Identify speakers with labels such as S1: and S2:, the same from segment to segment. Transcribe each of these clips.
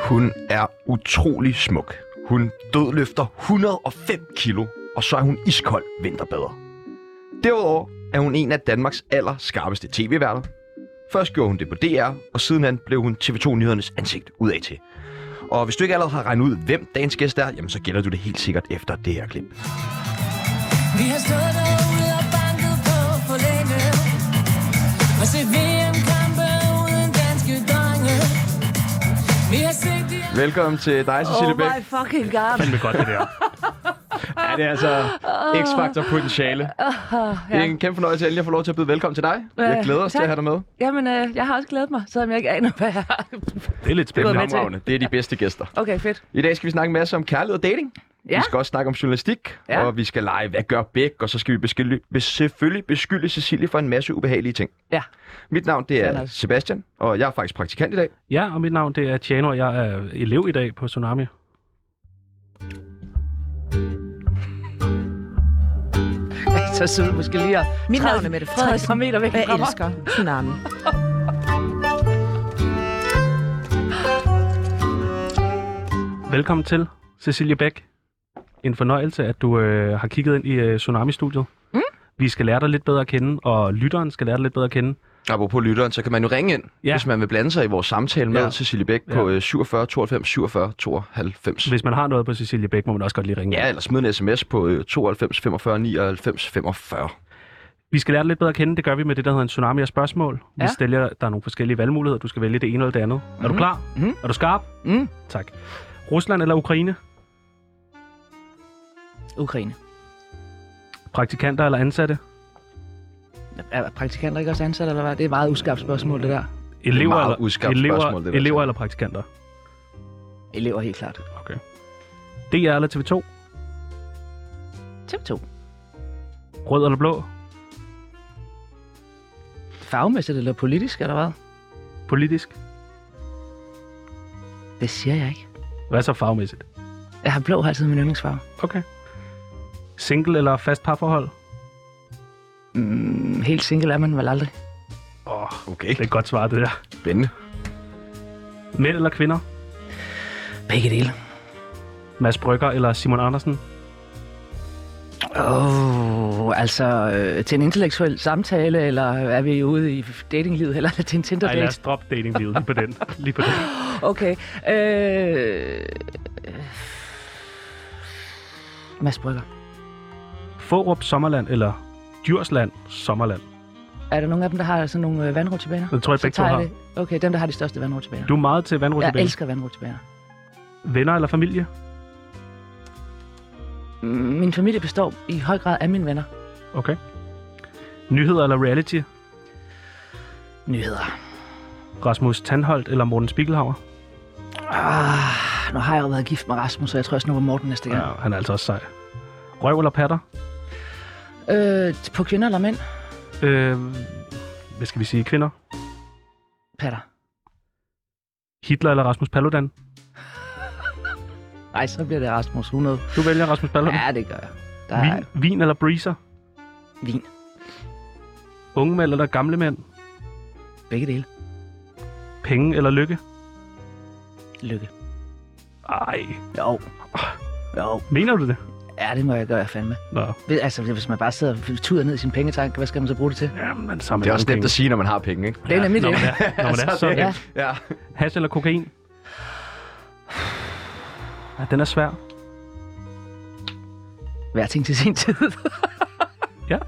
S1: Hun er utrolig smuk. Hun dødløfter 105 kilo, og så er hun iskold vinterbader. Derudover er hun en af Danmarks aller skarpeste tv-værter. Først gjorde hun det på DR, og sidenhen blev hun TV2-nyhedernes ansigt udad til. Og hvis du ikke allerede har regnet ud, hvem dagens gæst er, jamen så gælder du det helt sikkert efter det her klip.
S2: Vi har stået derude og banket på for længe Og set VM-kampe uden danske drenge Vi har set de...
S1: Velkommen til dig, Cecilie
S3: Oh
S1: Bæk.
S3: my fucking god.
S4: Det er godt, det der.
S1: Ja, det er altså X-Factor potentiale. Det er en kæmpe fornøjelse, at jeg lige får lov til at byde velkommen til dig.
S3: Ja,
S1: Jeg glæder os til
S3: tak.
S1: at have dig med.
S3: Jamen, øh, jeg har også glædet mig, selvom jeg ikke aner, hvad jeg har.
S4: Det er lidt
S1: Det
S3: Byder
S1: er
S3: med
S4: spændende.
S3: til.
S1: fremragende. Det er de bedste gæster.
S3: Okay, fedt.
S1: I dag skal vi snakke en masse om kærlighed og dating. Ja.
S3: Ja.
S1: Vi skal også snakke om journalistik, ja.
S3: Ja.
S1: og vi skal lege, hvad gør Bæk, og så skal vi beskylde, be- selvfølgelig beskylde Cecilie for en masse ubehagelige ting.
S3: Ja.
S1: Mit navn det
S3: Fair
S1: er
S3: nok.
S1: Sebastian, og jeg er faktisk praktikant i dag.
S4: Ja, og mit navn det er Tjano, og jeg er elev i dag på Tsunami.
S3: Så sidder du måske lige og...
S5: Mit navn
S3: 30
S5: er Mette
S3: 30
S5: Frederiksen.
S3: meter væk.
S5: Jeg
S3: fra mig.
S5: elsker tsunami.
S4: Velkommen til, Cecilie Bæk. En fornøjelse, at du øh, har kigget ind i øh, Tsunami-studiet. Mm. Vi skal lære dig lidt bedre at kende, og lytteren skal lære dig lidt bedre at kende.
S1: Apropos lytteren, så kan man jo ringe ind, ja.
S4: Ja.
S1: hvis man vil blande sig i vores samtale med ja.
S4: Ja.
S1: Cecilie Bæk ja. på øh, 47 92 47 92.
S4: Hvis man har noget på Cecilie Bæk, må man også godt lige ringe.
S1: Ja, eller smid en sms på øh, 92 45 99 45.
S4: Vi skal lære dig lidt bedre at kende. Det gør vi med det, der hedder en tsunami af spørgsmål. Vi
S3: Ja.
S4: stiller der er nogle forskellige valgmuligheder. Du skal vælge det ene eller det andet. Mm. Er du klar?
S1: Mhm.
S4: Er du skarp?
S3: Mhm.
S4: Tak. Rusland eller Ukraine?
S3: Ukraine.
S4: Praktikanter eller ansatte?
S3: Er praktikanter ikke også ansat, eller hvad? Det er et meget uskarpt spørgsmål, det der.
S4: Elever,
S1: meget
S4: eller,
S1: uskarpt
S4: elever,
S1: spørgsmål, det der,
S4: elever
S1: så.
S4: eller praktikanter?
S3: Elever helt klart.
S4: Okay. DR eller TV2?
S3: TV2.
S4: Rød eller blå?
S3: Fagmæssigt eller politisk, eller hvad?
S4: Politisk?
S3: Det siger jeg ikke.
S4: Hvad så fagmæssigt?
S3: Jeg har blå har altid min yndlingsfarve.
S4: Okay. Single eller fast parforhold?
S3: Mm, Helt single er man vel aldrig.
S4: Åh, oh,
S1: Okay,
S4: det er et godt svar, det der.
S1: spændende.
S4: Mænd eller kvinder?
S3: Begge dele.
S4: Mads Brygger eller Simon Andersen?
S3: Åh, oh, altså øh, til en intellektuel samtale, eller er vi ude i datinglivet, eller er det til en
S4: Ej, lad os
S3: Tinder-date?
S4: droppe dating lige på den. Lige på den.
S3: Okay. Øh, øh. Mads Brygger.
S4: Forup Sommerland eller Djursland Sommerland?
S3: Er der nogen af dem, der har sådan nogle øh, vandrutsjebaner?
S4: Det tror jeg
S3: Så
S4: begge to
S3: tager jeg
S4: har.
S3: det. Okay, dem, der har de største vandrutsjebaner.
S4: Du er meget til vandrutsjebane.
S3: Jeg elsker vandrutsjebaner.
S4: Venner eller familie?
S3: Mm, Min familie består i høj grad af mine venner.
S4: Okay. Nyheder eller reality?
S3: Nyheder.
S4: Rasmus Tandholt eller Morten Spiegelhauer?
S3: Ah, nu har jeg jo været gift med Rasmus, så jeg tror, jeg snupper Morten næste gang.
S4: Ja, han er altså også sej. Røv eller patter?
S3: Ja. Øh, på kvinder eller mænd?
S4: Øh, hvad skal vi sige? Kvinder?
S3: Patter.
S4: Hitler eller Rasmus Paludan?
S3: Nej, så bliver det Rasmus 100.
S4: Du vælger Rasmus Paludan.
S3: Ja, det gør jeg. Der er
S4: Vin, vin eller breezer?
S3: vin.
S4: Unge mænd eller gamle mænd?
S3: Begge dele.
S4: Penge eller lykke?
S3: Lykke.
S4: Ej,
S3: Jo. Jo.
S4: mener du det?
S3: Ja, det må jeg gøre, fandme.
S4: Nå,
S3: Ved- Altså, hvis man bare sidder og tuder ned i sin pengetank, hvad skal man så bruge det til?
S4: jamen, så er man
S1: Det er også
S4: mange
S1: nemt at sige, når man har penge, ikke?
S3: Det er nemlig
S4: når
S3: det.
S4: man er, når man er
S1: Altså,
S4: så
S1: det-
S4: ja.
S1: Ja.
S4: Hash eller kokain? Ja, den er svær.
S3: Hver ting til sin tid.
S4: Ja,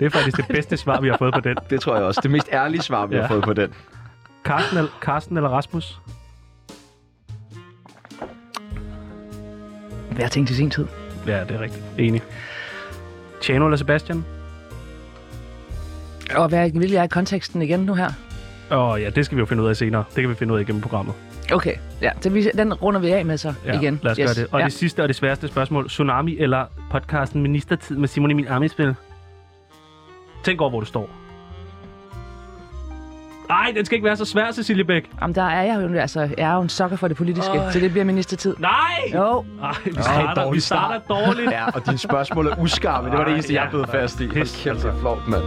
S4: det er faktisk det bedste svar, vi har fået på den.
S1: Det tror jeg også. Det mest ærlige svar, vi ja. har
S4: Ja.
S1: fået på den.
S4: Carsten, el- Carsten eller Rasmus?
S3: Hver ting til sin tid.
S4: Ja, det er rigtigt. Enig. Tjano eller Sebastian?
S3: Og hvad vil jeg i konteksten igen nu her?
S4: Åh oh, ja, det skal vi jo finde ud af senere. Det kan vi finde ud af igennem programmet.
S3: Okay, ja, så vi, den runder vi af med så
S4: Ja,
S3: igen.
S4: Lad os yes. gøre det. Og ja. det sidste og det sværeste spørgsmål. Tsunami eller podcasten Ministertid med Simon Emil Amitsbøl? Tænk over, hvor du står. Ej, den skal ikke være så svær, Cecilie Bæk.
S3: Jamen, der er jeg jo, altså, jeg er jo en sokker for det politiske,
S4: Øj.
S3: så det bliver ministertid.
S4: Nej!
S3: Jo,
S4: Ej, vi starter, vi
S1: dårlig start.
S4: starter dårligt.
S1: Ja, og dine spørgsmål er uskarpe. Det var det
S4: Ej,
S1: eneste,
S4: ja,
S1: jeg blev
S4: nej.
S1: fast i. Hold
S4: Pis,
S1: kæft, det er
S4: altså.
S1: flot, mand.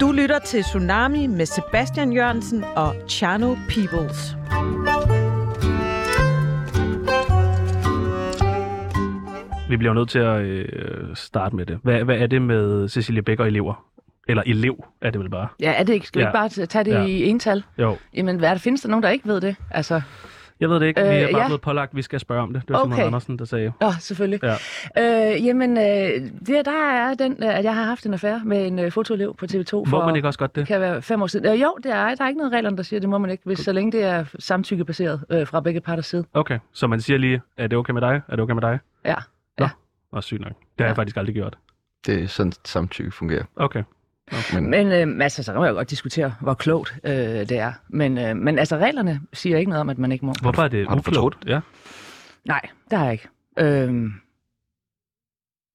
S5: Du lytter lytter til Tsunami med Sebastian Jørgensen og Chano Peoples.
S4: Vi bliver jo nødt til at øh, starte med det. Hvad, hvad er det med Cecilie Bæk og elever? Eller elev er det vel bare?
S3: Ja, er det ikke? Skal vi
S4: Ja.
S3: ikke bare t- tage det
S4: Ja.
S3: ja. i ental?
S4: Jo.
S3: Jamen, hvad er det? Findes der nogen, der ikke ved det? Altså,
S4: Jeg ved det ikke. Vi
S3: Øh,
S4: er bare
S3: ja.
S4: blevet pålagt, at vi skal spørge om det. Det var okay.
S3: Okay.
S4: Andersen, der sagde.
S3: Åh, oh, selvfølgelig.
S4: Ja.
S3: Øh, jamen, øh, det, der er den, øh, at jeg har haft en affære med en øh, fotoelev på TV2 for...
S4: Må man ikke også godt det?
S3: kan være fem år siden. Øh, jo, det er, der er ikke noget regler, der siger, det må man ikke, hvis, så længe det er samtykkebaseret øh, fra begge parters side.
S4: Okay, så man siger lige, er det okay med dig? Er det okay med dig?
S3: Ja.
S4: Nå,
S3: Ja.
S4: Nå, sygt nok. Det har jeg
S3: Ja.
S4: faktisk aldrig gjort.
S1: Det er sådan, samtykke fungerer.
S4: Okay.
S1: Men,
S3: Men øh, altså, så kan man jo godt diskutere, hvor klogt øh, det er. Men, øh, men altså, reglerne siger ikke noget om, at man ikke må.
S4: Hvorfor er det
S1: har du
S4: uklogt? Ja.
S3: Nej, det har jeg ikke. Øhm,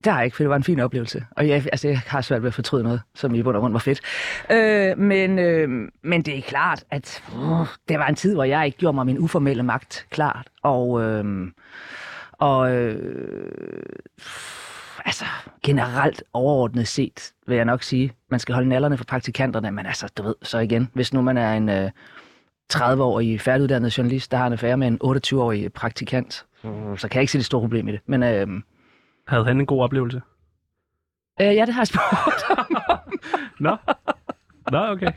S3: det har jeg ikke, for det var en fin oplevelse. Og jeg, altså, jeg har svært ved at fortryde noget, som i bund og grund var fedt. Øh, men, øh, men det er klart, at uh, det var en tid, hvor jeg ikke gjorde mig min uformelle magt klart. Og, øh, og øh, altså, generelt overordnet set, vil jeg nok sige, man skal holde nallerne for praktikanterne, men altså, du ved, så igen, hvis nu man er en... Øh, 30-årig færdiguddannet journalist, der har en affære med en 28-årig praktikant. Mm, Så kan jeg ikke se det store problem i det. Men øh, øh,
S4: Havde han en god oplevelse?
S3: ja, det har jeg spurgt om.
S4: Nå. Nå, okay.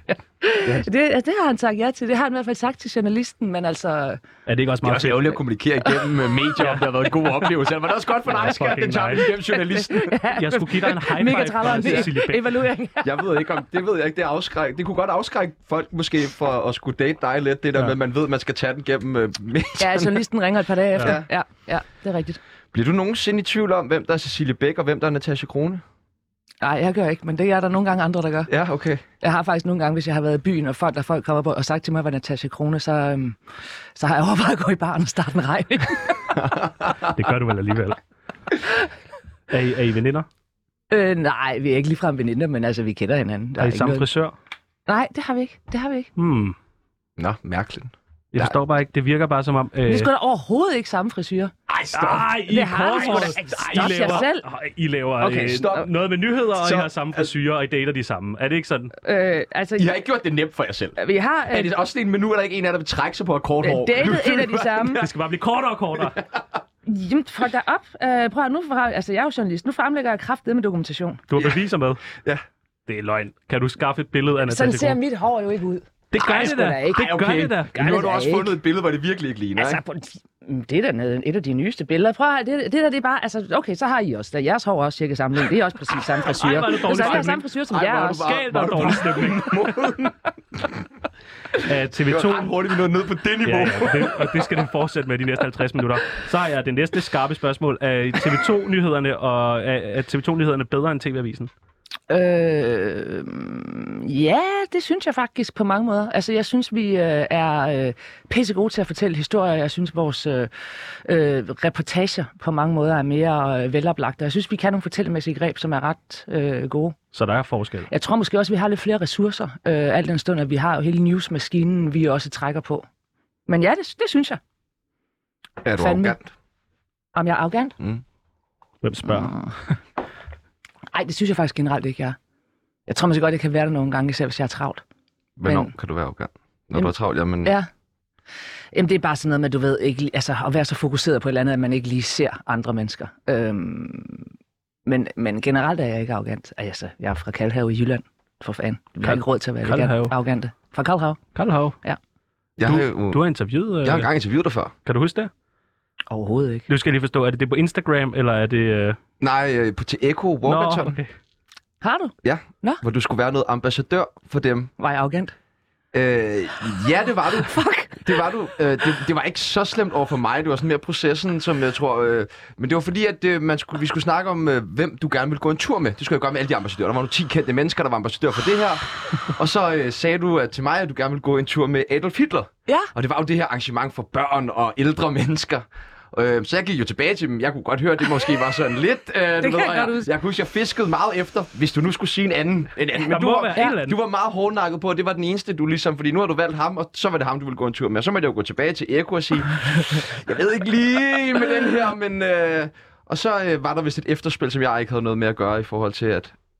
S3: Det, altså, det har han sagt ja til. Det har han i hvert fald sagt til journalisten, men altså...
S4: Er det ikke også
S1: det er
S4: meget
S1: også
S4: fedt?
S1: ærgerligt at kommunikere igennem øh, medier, om det har været en god oplevelse. Det var det også godt for
S4: Ja,
S1: dig, skat,
S4: fucking
S1: den tager vi
S4: nice.
S1: igennem journalisten.
S4: Jeg skulle give dig en high
S3: Mega
S4: five fra
S3: trælleren
S4: Cecilie Bæk.
S3: evaluering.
S1: Jeg ved ikke om, det ved jeg ikke, det, afskræk, det kunne godt afskrække folk måske for at skulle date dig lidt, det der
S4: Ja.
S1: ja. med, at man ved, at man skal tage den gennem øh, medier.
S3: Ja, altså, journalisten ringer et par dage efter.
S1: Ja.
S3: Ja, ja, ja det er rigtigt.
S1: Bliver du nogensinde i tvivl om, hvem der er Cecilie Bæk og hvem der er Natasha Krone?
S3: Nej, jeg gør ikke, men det er der nogle gange andre, der gør.
S1: Ja, okay.
S3: Jeg har faktisk nogle gange, hvis jeg har været i byen, og folk, der folk kommer på og sagt til mig, hvad Natasha Krone, så, øhm, så har jeg overvejet at gå i baren og starte en regning.
S4: Det gør du vel alligevel. Er I, er I veninder?
S3: øh, nej, vi er ikke ligefrem veninder, men altså, vi kender hinanden. Der
S4: Er I
S3: ikke
S4: samme
S3: noget-
S4: frisør?
S3: Nej, det har vi ikke. Det har vi ikke.
S4: Hmm.
S1: Nå, mærkeligt.
S4: Jeg
S1: Der-
S4: forstår bare ikke. Det virker bare som om... Øh...
S3: Vi skulle da overhovedet ikke samme frisyrer.
S4: Ej, stop. Ej, I
S3: Det har
S4: korthår.
S3: du sgu da- Ej,
S4: Ej,
S3: stop jer
S4: laver,
S3: selv.
S4: Ej, I laver
S1: Okay,
S4: øh,
S1: stop.
S4: noget med nyheder, og I
S1: Så-
S4: har samme frisyrer, og I dater de samme. Er det ikke sådan?
S3: Øh, altså,
S1: I har ikke gjort det nemt for jer selv.
S3: vi har
S1: Er
S3: øh,
S1: det også sådan en menu, er der ikke en af der vil trække sig på et kort
S3: øh,
S1: hår?
S3: datet en af de samme.
S4: Det skal bare blive kortere og kortere.
S3: Jamen, fuck dig op. Øh, prøv at nu, fra, altså, jeg er jo journalist. Nu fremlægger jeg kraftedet med dokumentation.
S4: Du har beviser med.
S1: Ja.
S4: Det er løgn. Kan du skaffe et billede af Natasha
S3: Sådan ser
S4: Grun?
S3: mit hår jo ikke ud.
S4: Det gør
S3: Ej,
S4: det
S3: sgu
S4: da.
S3: da ikke.
S4: Det
S1: Ej,
S4: gør det da.
S3: Gør
S1: nu
S3: det
S1: har du
S3: da
S1: også
S3: ikke.
S1: fundet et billede, hvor det virkelig ikke ligner,
S3: Altså,
S1: ikke?
S3: på, Mm, det er da ned- et af de nyeste billeder. Prøv at, det, det der, det er bare, altså, okay, så har I også, da jeres hår er også cirka samme længde. Det er også præcis samme
S4: Ej,
S3: frisyrer.
S4: hvor er det dårlig
S3: Så vi har
S4: stemning.
S3: samme frisyrer, som
S1: Ej, hvor
S3: jeg
S1: er du
S3: også.
S1: bare-
S4: Galt og
S1: Var du
S4: dårlig stemning. Af
S1: Det
S4: TV2.
S1: var ret hurtigt, vi nåede ned på det
S4: Ja,
S1: niveau.
S4: ja, og det, og det skal den fortsætte med de næste 50 minutter. Så har jeg det næste skarpe spørgsmål. Er TV2-nyhederne og er, er TV2-nyhederne bedre end TV-avisen?
S3: Øh, mm, ja, det synes jeg faktisk på mange måder. Altså, jeg synes, vi øh, er øh, pisse gode til at fortælle historier. Jeg synes, vores øh, øh, reportager på mange måder er mere øh, veloplagte. Jeg synes, vi kan nogle fortællemæssige greb, som er ret øh, gode.
S4: Så der er forskel.
S3: Jeg tror måske også, vi har lidt flere ressourcer, øh, alt den stund, at vi har jo hele newsmaskinen, vi også trækker på. Men ja, det, det synes jeg.
S1: Er du
S3: Fandme.
S1: arrogant?
S3: Om jeg er arrogant?
S4: Hvem spørger?
S3: Nej, det synes jeg faktisk generelt ikke, jeg er. Jeg tror måske godt, jeg kan være der nogle gange, især hvis jeg er travlt.
S1: Hvornår
S3: Men-
S1: kan du være arrogant? Når
S3: Jamen-
S1: du er travlt, ja, men...
S3: Ja. Jamen, det er bare sådan noget med, du ved, ikke, li- altså, at være så fokuseret på et eller andet, at man ikke lige ser andre mennesker. Øhm, men, men generelt er jeg ikke arrogant. Altså, jeg er fra Kalhave i Jylland, for fanden. Vi har
S4: Kal-
S3: ikke råd til at være
S4: Kalhave.
S3: arrogant, arrogante. Fra Kalhave?
S4: Karl Hav,
S1: Jeg
S4: du,
S1: har jo...
S4: du har interviewet... Øh,
S1: Jeg har engang interviewet dig før.
S4: Kan du huske det?
S3: Overhovedet ikke.
S4: Nu skal jeg lige forstå, er det det på Instagram, eller er det... Øh...
S1: Nej, øh, på til Echo Warburton,
S4: okay.
S3: Har du?
S1: hvor du skulle være noget ambassadør for dem.
S3: Var jeg arrogant?
S1: Øh, ja, det var du. Fuck. Det var du. Øh, det, det, var ikke så slemt over for mig. Det var sådan mere processen, som jeg tror... Øh, men det var fordi, at øh, man skulle, vi skulle snakke om, øh, hvem du gerne ville gå en tur med. Det skulle jeg gøre med alle de ambassadører. Der var nu 10 kendte mennesker, der var ambassadører for det her. Og så øh, sagde du at til mig, at du gerne ville gå en tur med Adolf Hitler.
S3: Ja.
S1: Og det var jo det her arrangement for børn og ældre mennesker. Øh, så jeg gik jo tilbage til dem. Jeg kunne godt høre, at det måske var sådan lidt... Øh, det jeg,
S3: kan jeg godt huske.
S1: jeg kunne huske, jeg fiskede meget efter, hvis du nu skulle sige en anden. En anden.
S4: Der
S1: du
S4: må
S1: var,
S4: være en eller anden.
S1: du var meget hårdnakket på, at det var den eneste, du ligesom... Fordi nu har du valgt ham, og så var det ham, du ville gå en tur med. Og så måtte jeg jo gå tilbage til Eko og sige, jeg ved ikke lige med den her, men... Øh, og så øh, var der vist et efterspil, som jeg ikke havde noget med at gøre i forhold til, at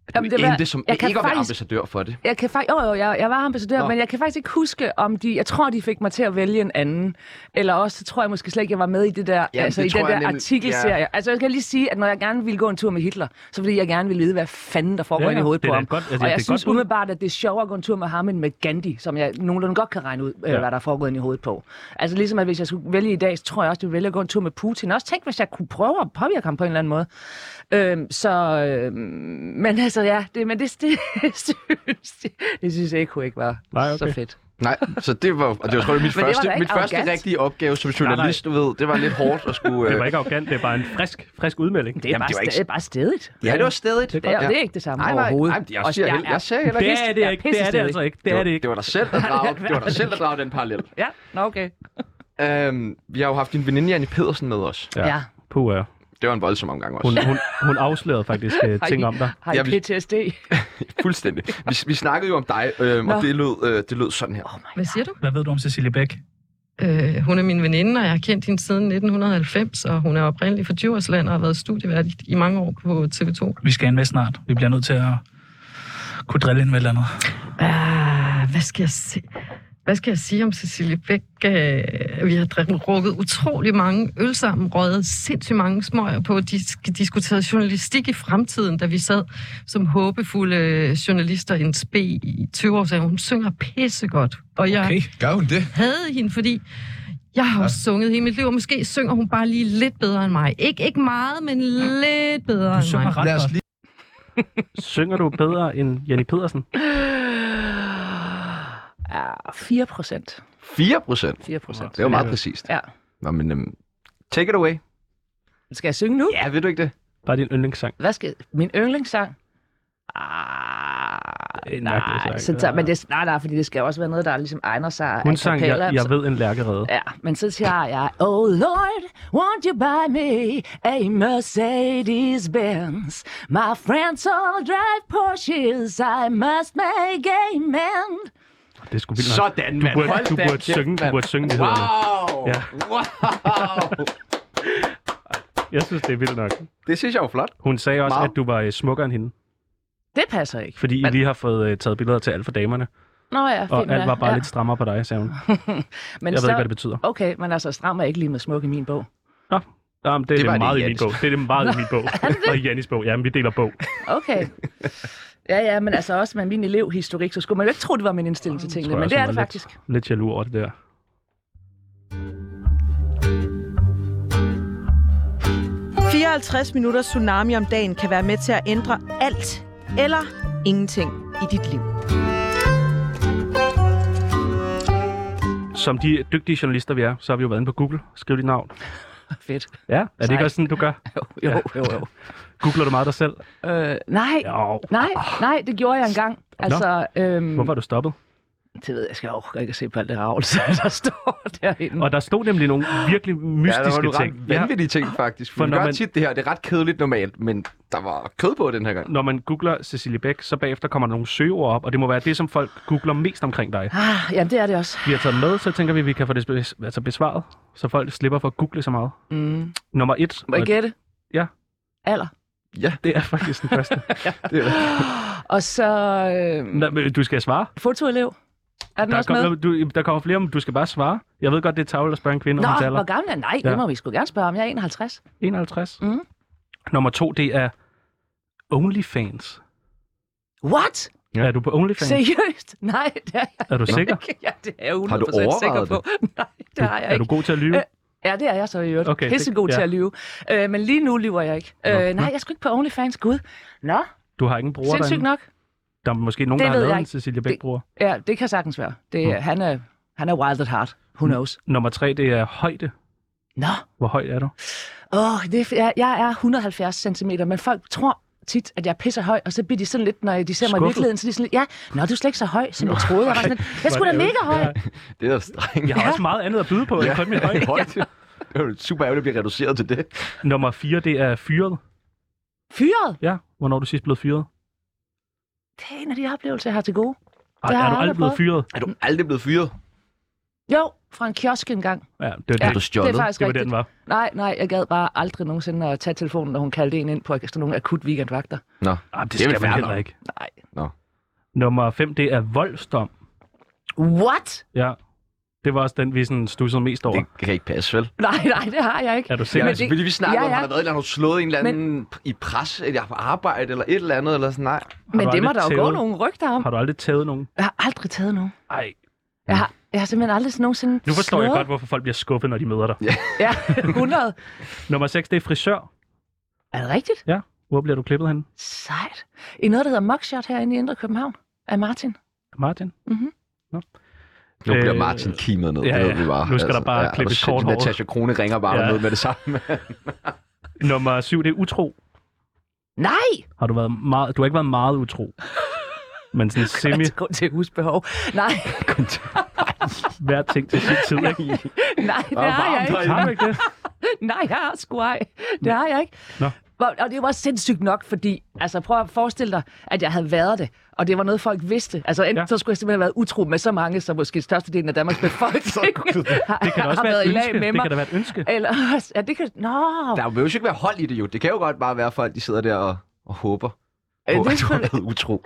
S1: At
S3: Jamen,
S1: du
S3: det
S1: det
S3: var-
S1: endte som
S3: jeg kan
S1: ikke at være
S3: faktisk-
S1: ambassadør for det.
S3: Jeg kan faktisk, jo, jo, jeg, jeg var ambassadør,
S1: Nå.
S3: Nå. men jeg kan faktisk ikke huske, om de, jeg tror, de fik mig til at vælge en anden. Eller også, så tror jeg måske slet ikke, jeg var med i det der,
S1: Jamen,
S3: altså
S1: det
S3: i den
S1: tror jeg
S3: der
S1: nemlig-
S3: artikelserie. Ja. Altså, jeg skal lige sige, at når jeg gerne ville gå en tur med Hitler, så fordi jeg gerne ville vide, hvad fanden der foregår
S4: Ja,
S3: ja,
S4: ja,
S3: i hovedet
S4: det
S3: på
S4: er da
S3: ham.
S4: et godt- altså,
S3: og
S4: det er
S3: jeg
S4: et
S3: synes
S4: godt bud.
S3: umiddelbart, at det er sjovere at gå en tur med ham end med Gandhi, som jeg nogenlunde godt kan regne ud, ja.
S4: Ja.
S3: hvad der er foregået inde i hovedet på. Altså ligesom, at hvis jeg skulle vælge i dag, så tror jeg også, at jeg ville vælge at gå en tur med Putin. Også tænk, hvis jeg kunne prøve at påvirke ham på en eller anden måde. Øhm, så, øhm, men altså ja, det, men det, det, synes, det synes Eko ikke var
S4: Nej, okay.
S3: så fedt.
S1: Nej, så det var, og det var, tror jeg, mit,
S3: Men det var
S1: første,
S3: da ikke
S1: mit første
S3: arrogant.
S1: rigtige opgave som journalist, du ved. Det var lidt hårdt at skulle...
S4: Det
S1: øh,
S4: var ikke arrogant, det er bare en frisk, frisk udmelding.
S3: Det er,
S1: Jamen,
S3: bare,
S1: det var
S3: det
S1: ikke-
S3: ikke... bare stedigt.
S1: Ja, det var stadigt.
S3: Det er, ja. det er ikke det samme
S1: Nej, nej,
S3: overhovedet.
S1: nej, jeg
S3: Og
S1: siger, jeg,
S3: er-
S1: jeg sagde heller
S4: Det
S1: ikke.
S4: er det ikke. Det er det
S3: pissestedig.
S4: altså ikke. Det er det
S1: var-
S4: ikke.
S1: Det var dig selv, der drage, det var dig selv, der drage den parallel.
S3: Ja, nå okay.
S1: Øhm, vi har jo haft din veninde, Janne Pedersen, med os.
S4: Ja.
S3: Ja.
S4: Puh, ja.
S1: Det var en voldsom omgang også.
S4: Hun, hun, hun afslørede faktisk øh, ting om dig.
S3: Har I
S1: Jeg vil-
S3: PTSD?
S1: Fuldstændig. Vi, vi snakkede jo om dig, øhm, og
S3: Nå.
S1: det lød, øh, det lød sådan her.
S6: Hvad siger du?
S7: Hvad ved du om Cecilie Bæk?
S6: Øh, hun er min veninde, og jeg har kendt hende siden 1990, og hun er oprindelig fra Djursland og har været studievært i- i mange år på TV2.
S7: Vi skal have en med snart. Vi bliver nødt til at kunne drille hende med et eller andet.
S6: Ah, hvad skal jeg sige? Hvad skal jeg sige om Cecilie Bæk? Øh, Vi har drikket- drukket utrolig mange øl sammen, røget sindssygt mange smøger på. De sk- diskuterede journalistik i fremtiden, da vi sad som håbefulde journalister i en spe i 20 år. Så hun synger pissegodt. Og jeg,
S7: Okay.
S8: Gør hun det?
S6: havde hende, fordi jeg har også sunget hele mit liv, og måske synger hun bare lige lidt bedre end mig. Ikke, ikke meget, men lidt bedre
S7: Du
S6: end mig.
S7: synger ret
S8: Lad os
S7: godt.
S8: lige...
S4: Synger du bedre end Jenny Pedersen?
S3: Ja, 4 procent.
S1: 4 procent.
S3: 4 procent.
S1: Det var meget præcist.
S3: Ja.
S1: Nå, men øhm, take it away.
S3: Skal jeg synge nu?
S1: Ja, ved du ikke det?
S4: Bare din yndlingssang.
S3: Hvad skal... Min yndlingssang? Ah,
S4: en mærkelig
S3: nej,
S4: sang,
S3: så
S4: det
S3: tager,
S4: der.
S3: men det, nej, nej, fordi det skal jo også være noget, der ligesom egner sig.
S4: Hun
S3: a
S4: sang,
S3: cappella,
S4: jeg, jeg
S3: så-
S4: ved en lærkerede.
S3: Ja, men så siger jeg, Oh Lord, won't you buy me a Mercedes Benz? My friends all drive Porsches, I must make amend.
S4: Det er sgu vildt nok.
S1: Sådan,
S4: Du
S1: mand.
S4: burde,
S1: Hold
S4: du
S1: da
S4: burde
S1: kæft,
S4: synge, du
S1: mand.
S4: burde synge det
S1: Wow!
S4: hedder.
S1: Ja.
S4: Ja.
S1: Wow!
S4: Jeg synes, det er vildt nok.
S1: Det synes jeg jo flot.
S4: Hun sagde også,
S1: Meget.
S4: at du var øh, smukkere end hende,
S3: Det passer ikke.
S4: fordi I lige har fået øh, taget billeder til alt for damerne,
S3: Nå ja, fint
S4: og alt
S3: nok.
S4: var bare
S3: ja.
S4: lidt strammere på dig, sagde hun. Jeg
S3: Men
S4: ved
S3: så,
S4: ikke, hvad det betyder.
S3: Okay, men altså, stram er ikke lige med smuk i min bog.
S4: Nå, Jamen, det er
S1: Det
S4: det,
S1: var
S4: det
S1: det
S4: meget
S1: i
S4: i min
S1: Jannis.
S4: bog. Det er det meget i min bog. Og i Jannis bog. Jamen, vi deler bog.
S3: Okay. Ja, ja, men altså også med min elevhistorik, så skulle man jo ikke tro, det var min indstilling til tingene,
S4: tror jeg
S3: men det er
S4: også,
S3: det
S4: hun er lidt-
S3: faktisk.
S4: Lidt jaloux over det der.
S5: Bæk. 54 minutter tsunami om dagen kan være med til at ændre alt eller ingenting i dit liv.
S4: Som de dygtige journalister, vi er, så har vi jo været inde på Google. Skriv dit navn.
S3: Fedt.
S4: Ja, er det
S3: Sejt.
S4: ikke også sådan, du gør?
S3: Jo, jo, jo. jo.
S4: Googler du meget dig selv?
S3: Øh, nej,
S4: Jo.
S3: nej, nej, det gjorde jeg engang. Altså, øhm,
S4: Hvorfor er du stoppet?
S3: Det ved jeg, jeg skal overhovedet ikke se på alt det ravl, der står derinde.
S4: Og der stod nemlig nogle virkelig
S1: Ja, der var
S4: mystiske
S1: du
S4: ting.
S1: ret vanvittige ting, faktisk. For
S4: For
S1: vi
S4: når
S1: gør
S4: man-
S1: tit det her. Det er ret kedeligt normalt, men der var kød på den her gang.
S4: når man googler Cecilie Bæk, så bagefter kommer der nogle søgeord op, og det må være det, som folk googler mest omkring dig.
S3: Ah, jamen, det er det også.
S4: Vi har taget med, så tænker vi, at vi kan få det bes- altså besvaret, så folk slipper for at google så meget.
S3: Mm.
S4: Nummer et,
S3: Må jeg
S4: og
S3: gætte?
S4: Ja.
S3: Alder.
S4: det er faktisk den første.
S1: Det er
S3: Og så øh,
S4: Nå, men du skal svare.
S3: fotoelev. Er den
S4: Der,
S3: også med?
S4: kom, du, der kommer flere, men du skal bare svare. Jeg ved godt, det er tavlet at spørge en kvinde, om hun
S3: Nå, hvor
S4: taler.
S3: gammel er Nej,
S4: Ja.
S3: det må vi sgu gerne spørge om. Jeg er 51.
S4: 51.
S3: Mm.
S4: Nummer to, det er OnlyFans.
S3: What?
S1: Ja.
S4: Ja. Er du på OnlyFans?
S3: Seriøst? Nej, det er jeg
S4: Er du sikker?
S3: ikke. Ja, det er jeg 100%
S1: Har du
S3: sikker
S1: overvejet
S3: på. Nej, det
S4: Du,
S3: har jeg
S4: er du
S3: ikke.
S4: god til at lyve?
S3: Øh, Ja, det er jeg så i øvrigt.
S4: Okay,
S3: Okay,
S4: det-
S3: Pissegod
S4: ja.
S3: til at lyve. Øh, men lige nu lyver jeg ikke.
S4: Nå.
S3: Øh, nej, jeg skulle ikke på OnlyFans. Gud. Nå,
S4: Du har ingen bruger
S3: sindssygt
S4: derinde?
S3: nok.
S4: Der er måske nogen,
S3: Det
S4: der har
S3: ved
S4: lavet
S3: jeg
S4: en
S3: ikke.
S4: Cecilie Bæk-bruger.
S3: Ja, det kan sagtens være. Det,
S4: Mm.
S3: han, er, han er wild at heart. Who knows?
S4: Nummer tre, det er højde.
S3: Nå.
S4: Hvor høj er du?
S3: Åh, oh, jeg, jeg er 170 cm, men folk tror tit, at jeg er pisser høj, og så bliver de sådan lidt, når de ser mig i
S4: Skuffet.
S3: virkeligheden, så er de sådan lidt, ja, nå, du er slet ikke så høj, som jeg troede. Jeg var sådan, lidt, jeg skulle da mega høj.
S1: det er strengt.
S4: Jeg har også meget andet at byde på, end kun min højde.
S1: Højt. Det er jo super ærgerligt at blive reduceret til det.
S4: Nummer 4, det er fyret.
S3: Fyret!
S4: Ja, hvornår er du sidst blevet fyret?
S3: Det er en af de oplevelser, jeg har til gode.
S4: Ej,
S3: Det har jeg
S4: er du aldrig
S3: aldrig
S4: blevet
S3: prøvet.
S4: fyret?
S1: Er du aldrig blevet fyret?
S3: Jo, fra en kiosk engang.
S4: Ja, det var,
S3: Ja,
S4: det.
S1: du stjålet?
S3: Det er faktisk
S4: Det var
S3: rigtigt.
S4: den var.
S3: Nej, nej, jeg gad bare aldrig nogensinde at tage telefonen, når hun kaldte en ind på sådan nogle akut weekendvagter.
S1: Nå.
S4: Jamen, Ah, det,
S1: er vel
S4: skal man
S1: fair
S4: heller
S1: nok.
S4: ikke.
S3: Nej.
S4: Nummer 5, det er voldsdom.
S3: What?
S4: Ja. Det var også den, vi sådan stussede mest over.
S1: Det kan ikke passe, vel?
S3: Nej, nej, det har jeg ikke.
S4: Er du
S1: Ja,
S4: sikker?
S1: men
S4: Ja,
S3: det-
S1: selvfølgelig, vi snakker
S3: ja,
S1: ja, ja. om,
S3: ja.
S1: han har været et eller andet, slået en eller anden men... i pres, eller på arbejde, eller et eller andet, eller sådan, nej.
S3: Men
S4: du
S3: det må
S4: aldrig
S3: der jo gå
S4: tævet?
S3: nogle rygter om.
S4: Har du aldrig taget nogen?
S3: Jeg har aldrig taget nogen.
S4: Nej.
S3: Jeg har, jeg har simpelthen aldrig nogensinde
S4: Nu forstår jeg
S3: slået.
S4: godt, hvorfor folk bliver skuffet, når de møder dig.
S3: Ja, 100.
S4: Nummer 6, det er frisør.
S3: Er det rigtigt?
S4: Hvor bliver du klippet hen?
S3: Sejt. I noget, der hedder Mugshot herinde i Indre København af Martin.
S4: Martin?
S3: Mhm.
S4: Nå.
S1: Nu bliver
S4: Øh,
S1: Martin kimet ned,
S4: ja,
S1: det
S4: ja.
S1: ved vi bare.
S4: Nu skal der bare
S1: og
S4: klippes
S1: shit,
S4: kort hår.
S1: Natasha Krone ringer bare
S4: Ja.
S1: ja. ned med det samme.
S4: Nummer 7, det er utro.
S3: Nej!
S4: Har du været meget... Du har ikke været meget utro. Men sådan semi,
S3: Altså, Grund til husbehov. Nej,
S4: hver ting til sin tid, ikke?
S3: nej,
S1: Der er
S3: det har
S1: varmt
S3: jeg ikke.
S1: herinde.
S4: Har du ikke det?
S3: Nej, jeg har sgu ej. Det har jeg ikke.
S4: Nå.
S3: Og og det var sindssygt nok, fordi, altså prøv at forestille dig, at jeg havde været det, og det var noget, folk vidste. Altså enten
S4: Ja.
S3: ja. så skulle jeg simpelthen have været utro med så mange, som måske størstedelen af Danmarks befolkning har,
S4: Det kan da
S3: har
S4: også være
S3: været
S4: et
S3: i lag
S4: ønske.
S3: med
S4: Det
S3: mig.
S4: kan da være et ønske.
S3: Eller også, ja, det kan... Nå,
S1: Der vil jo ikke være hold i det jo. Det kan jo godt bare være folk, de sidder der og, og håber
S3: øh,
S1: på,
S3: det er
S1: at du har
S3: selvfølgelig-
S1: været utro.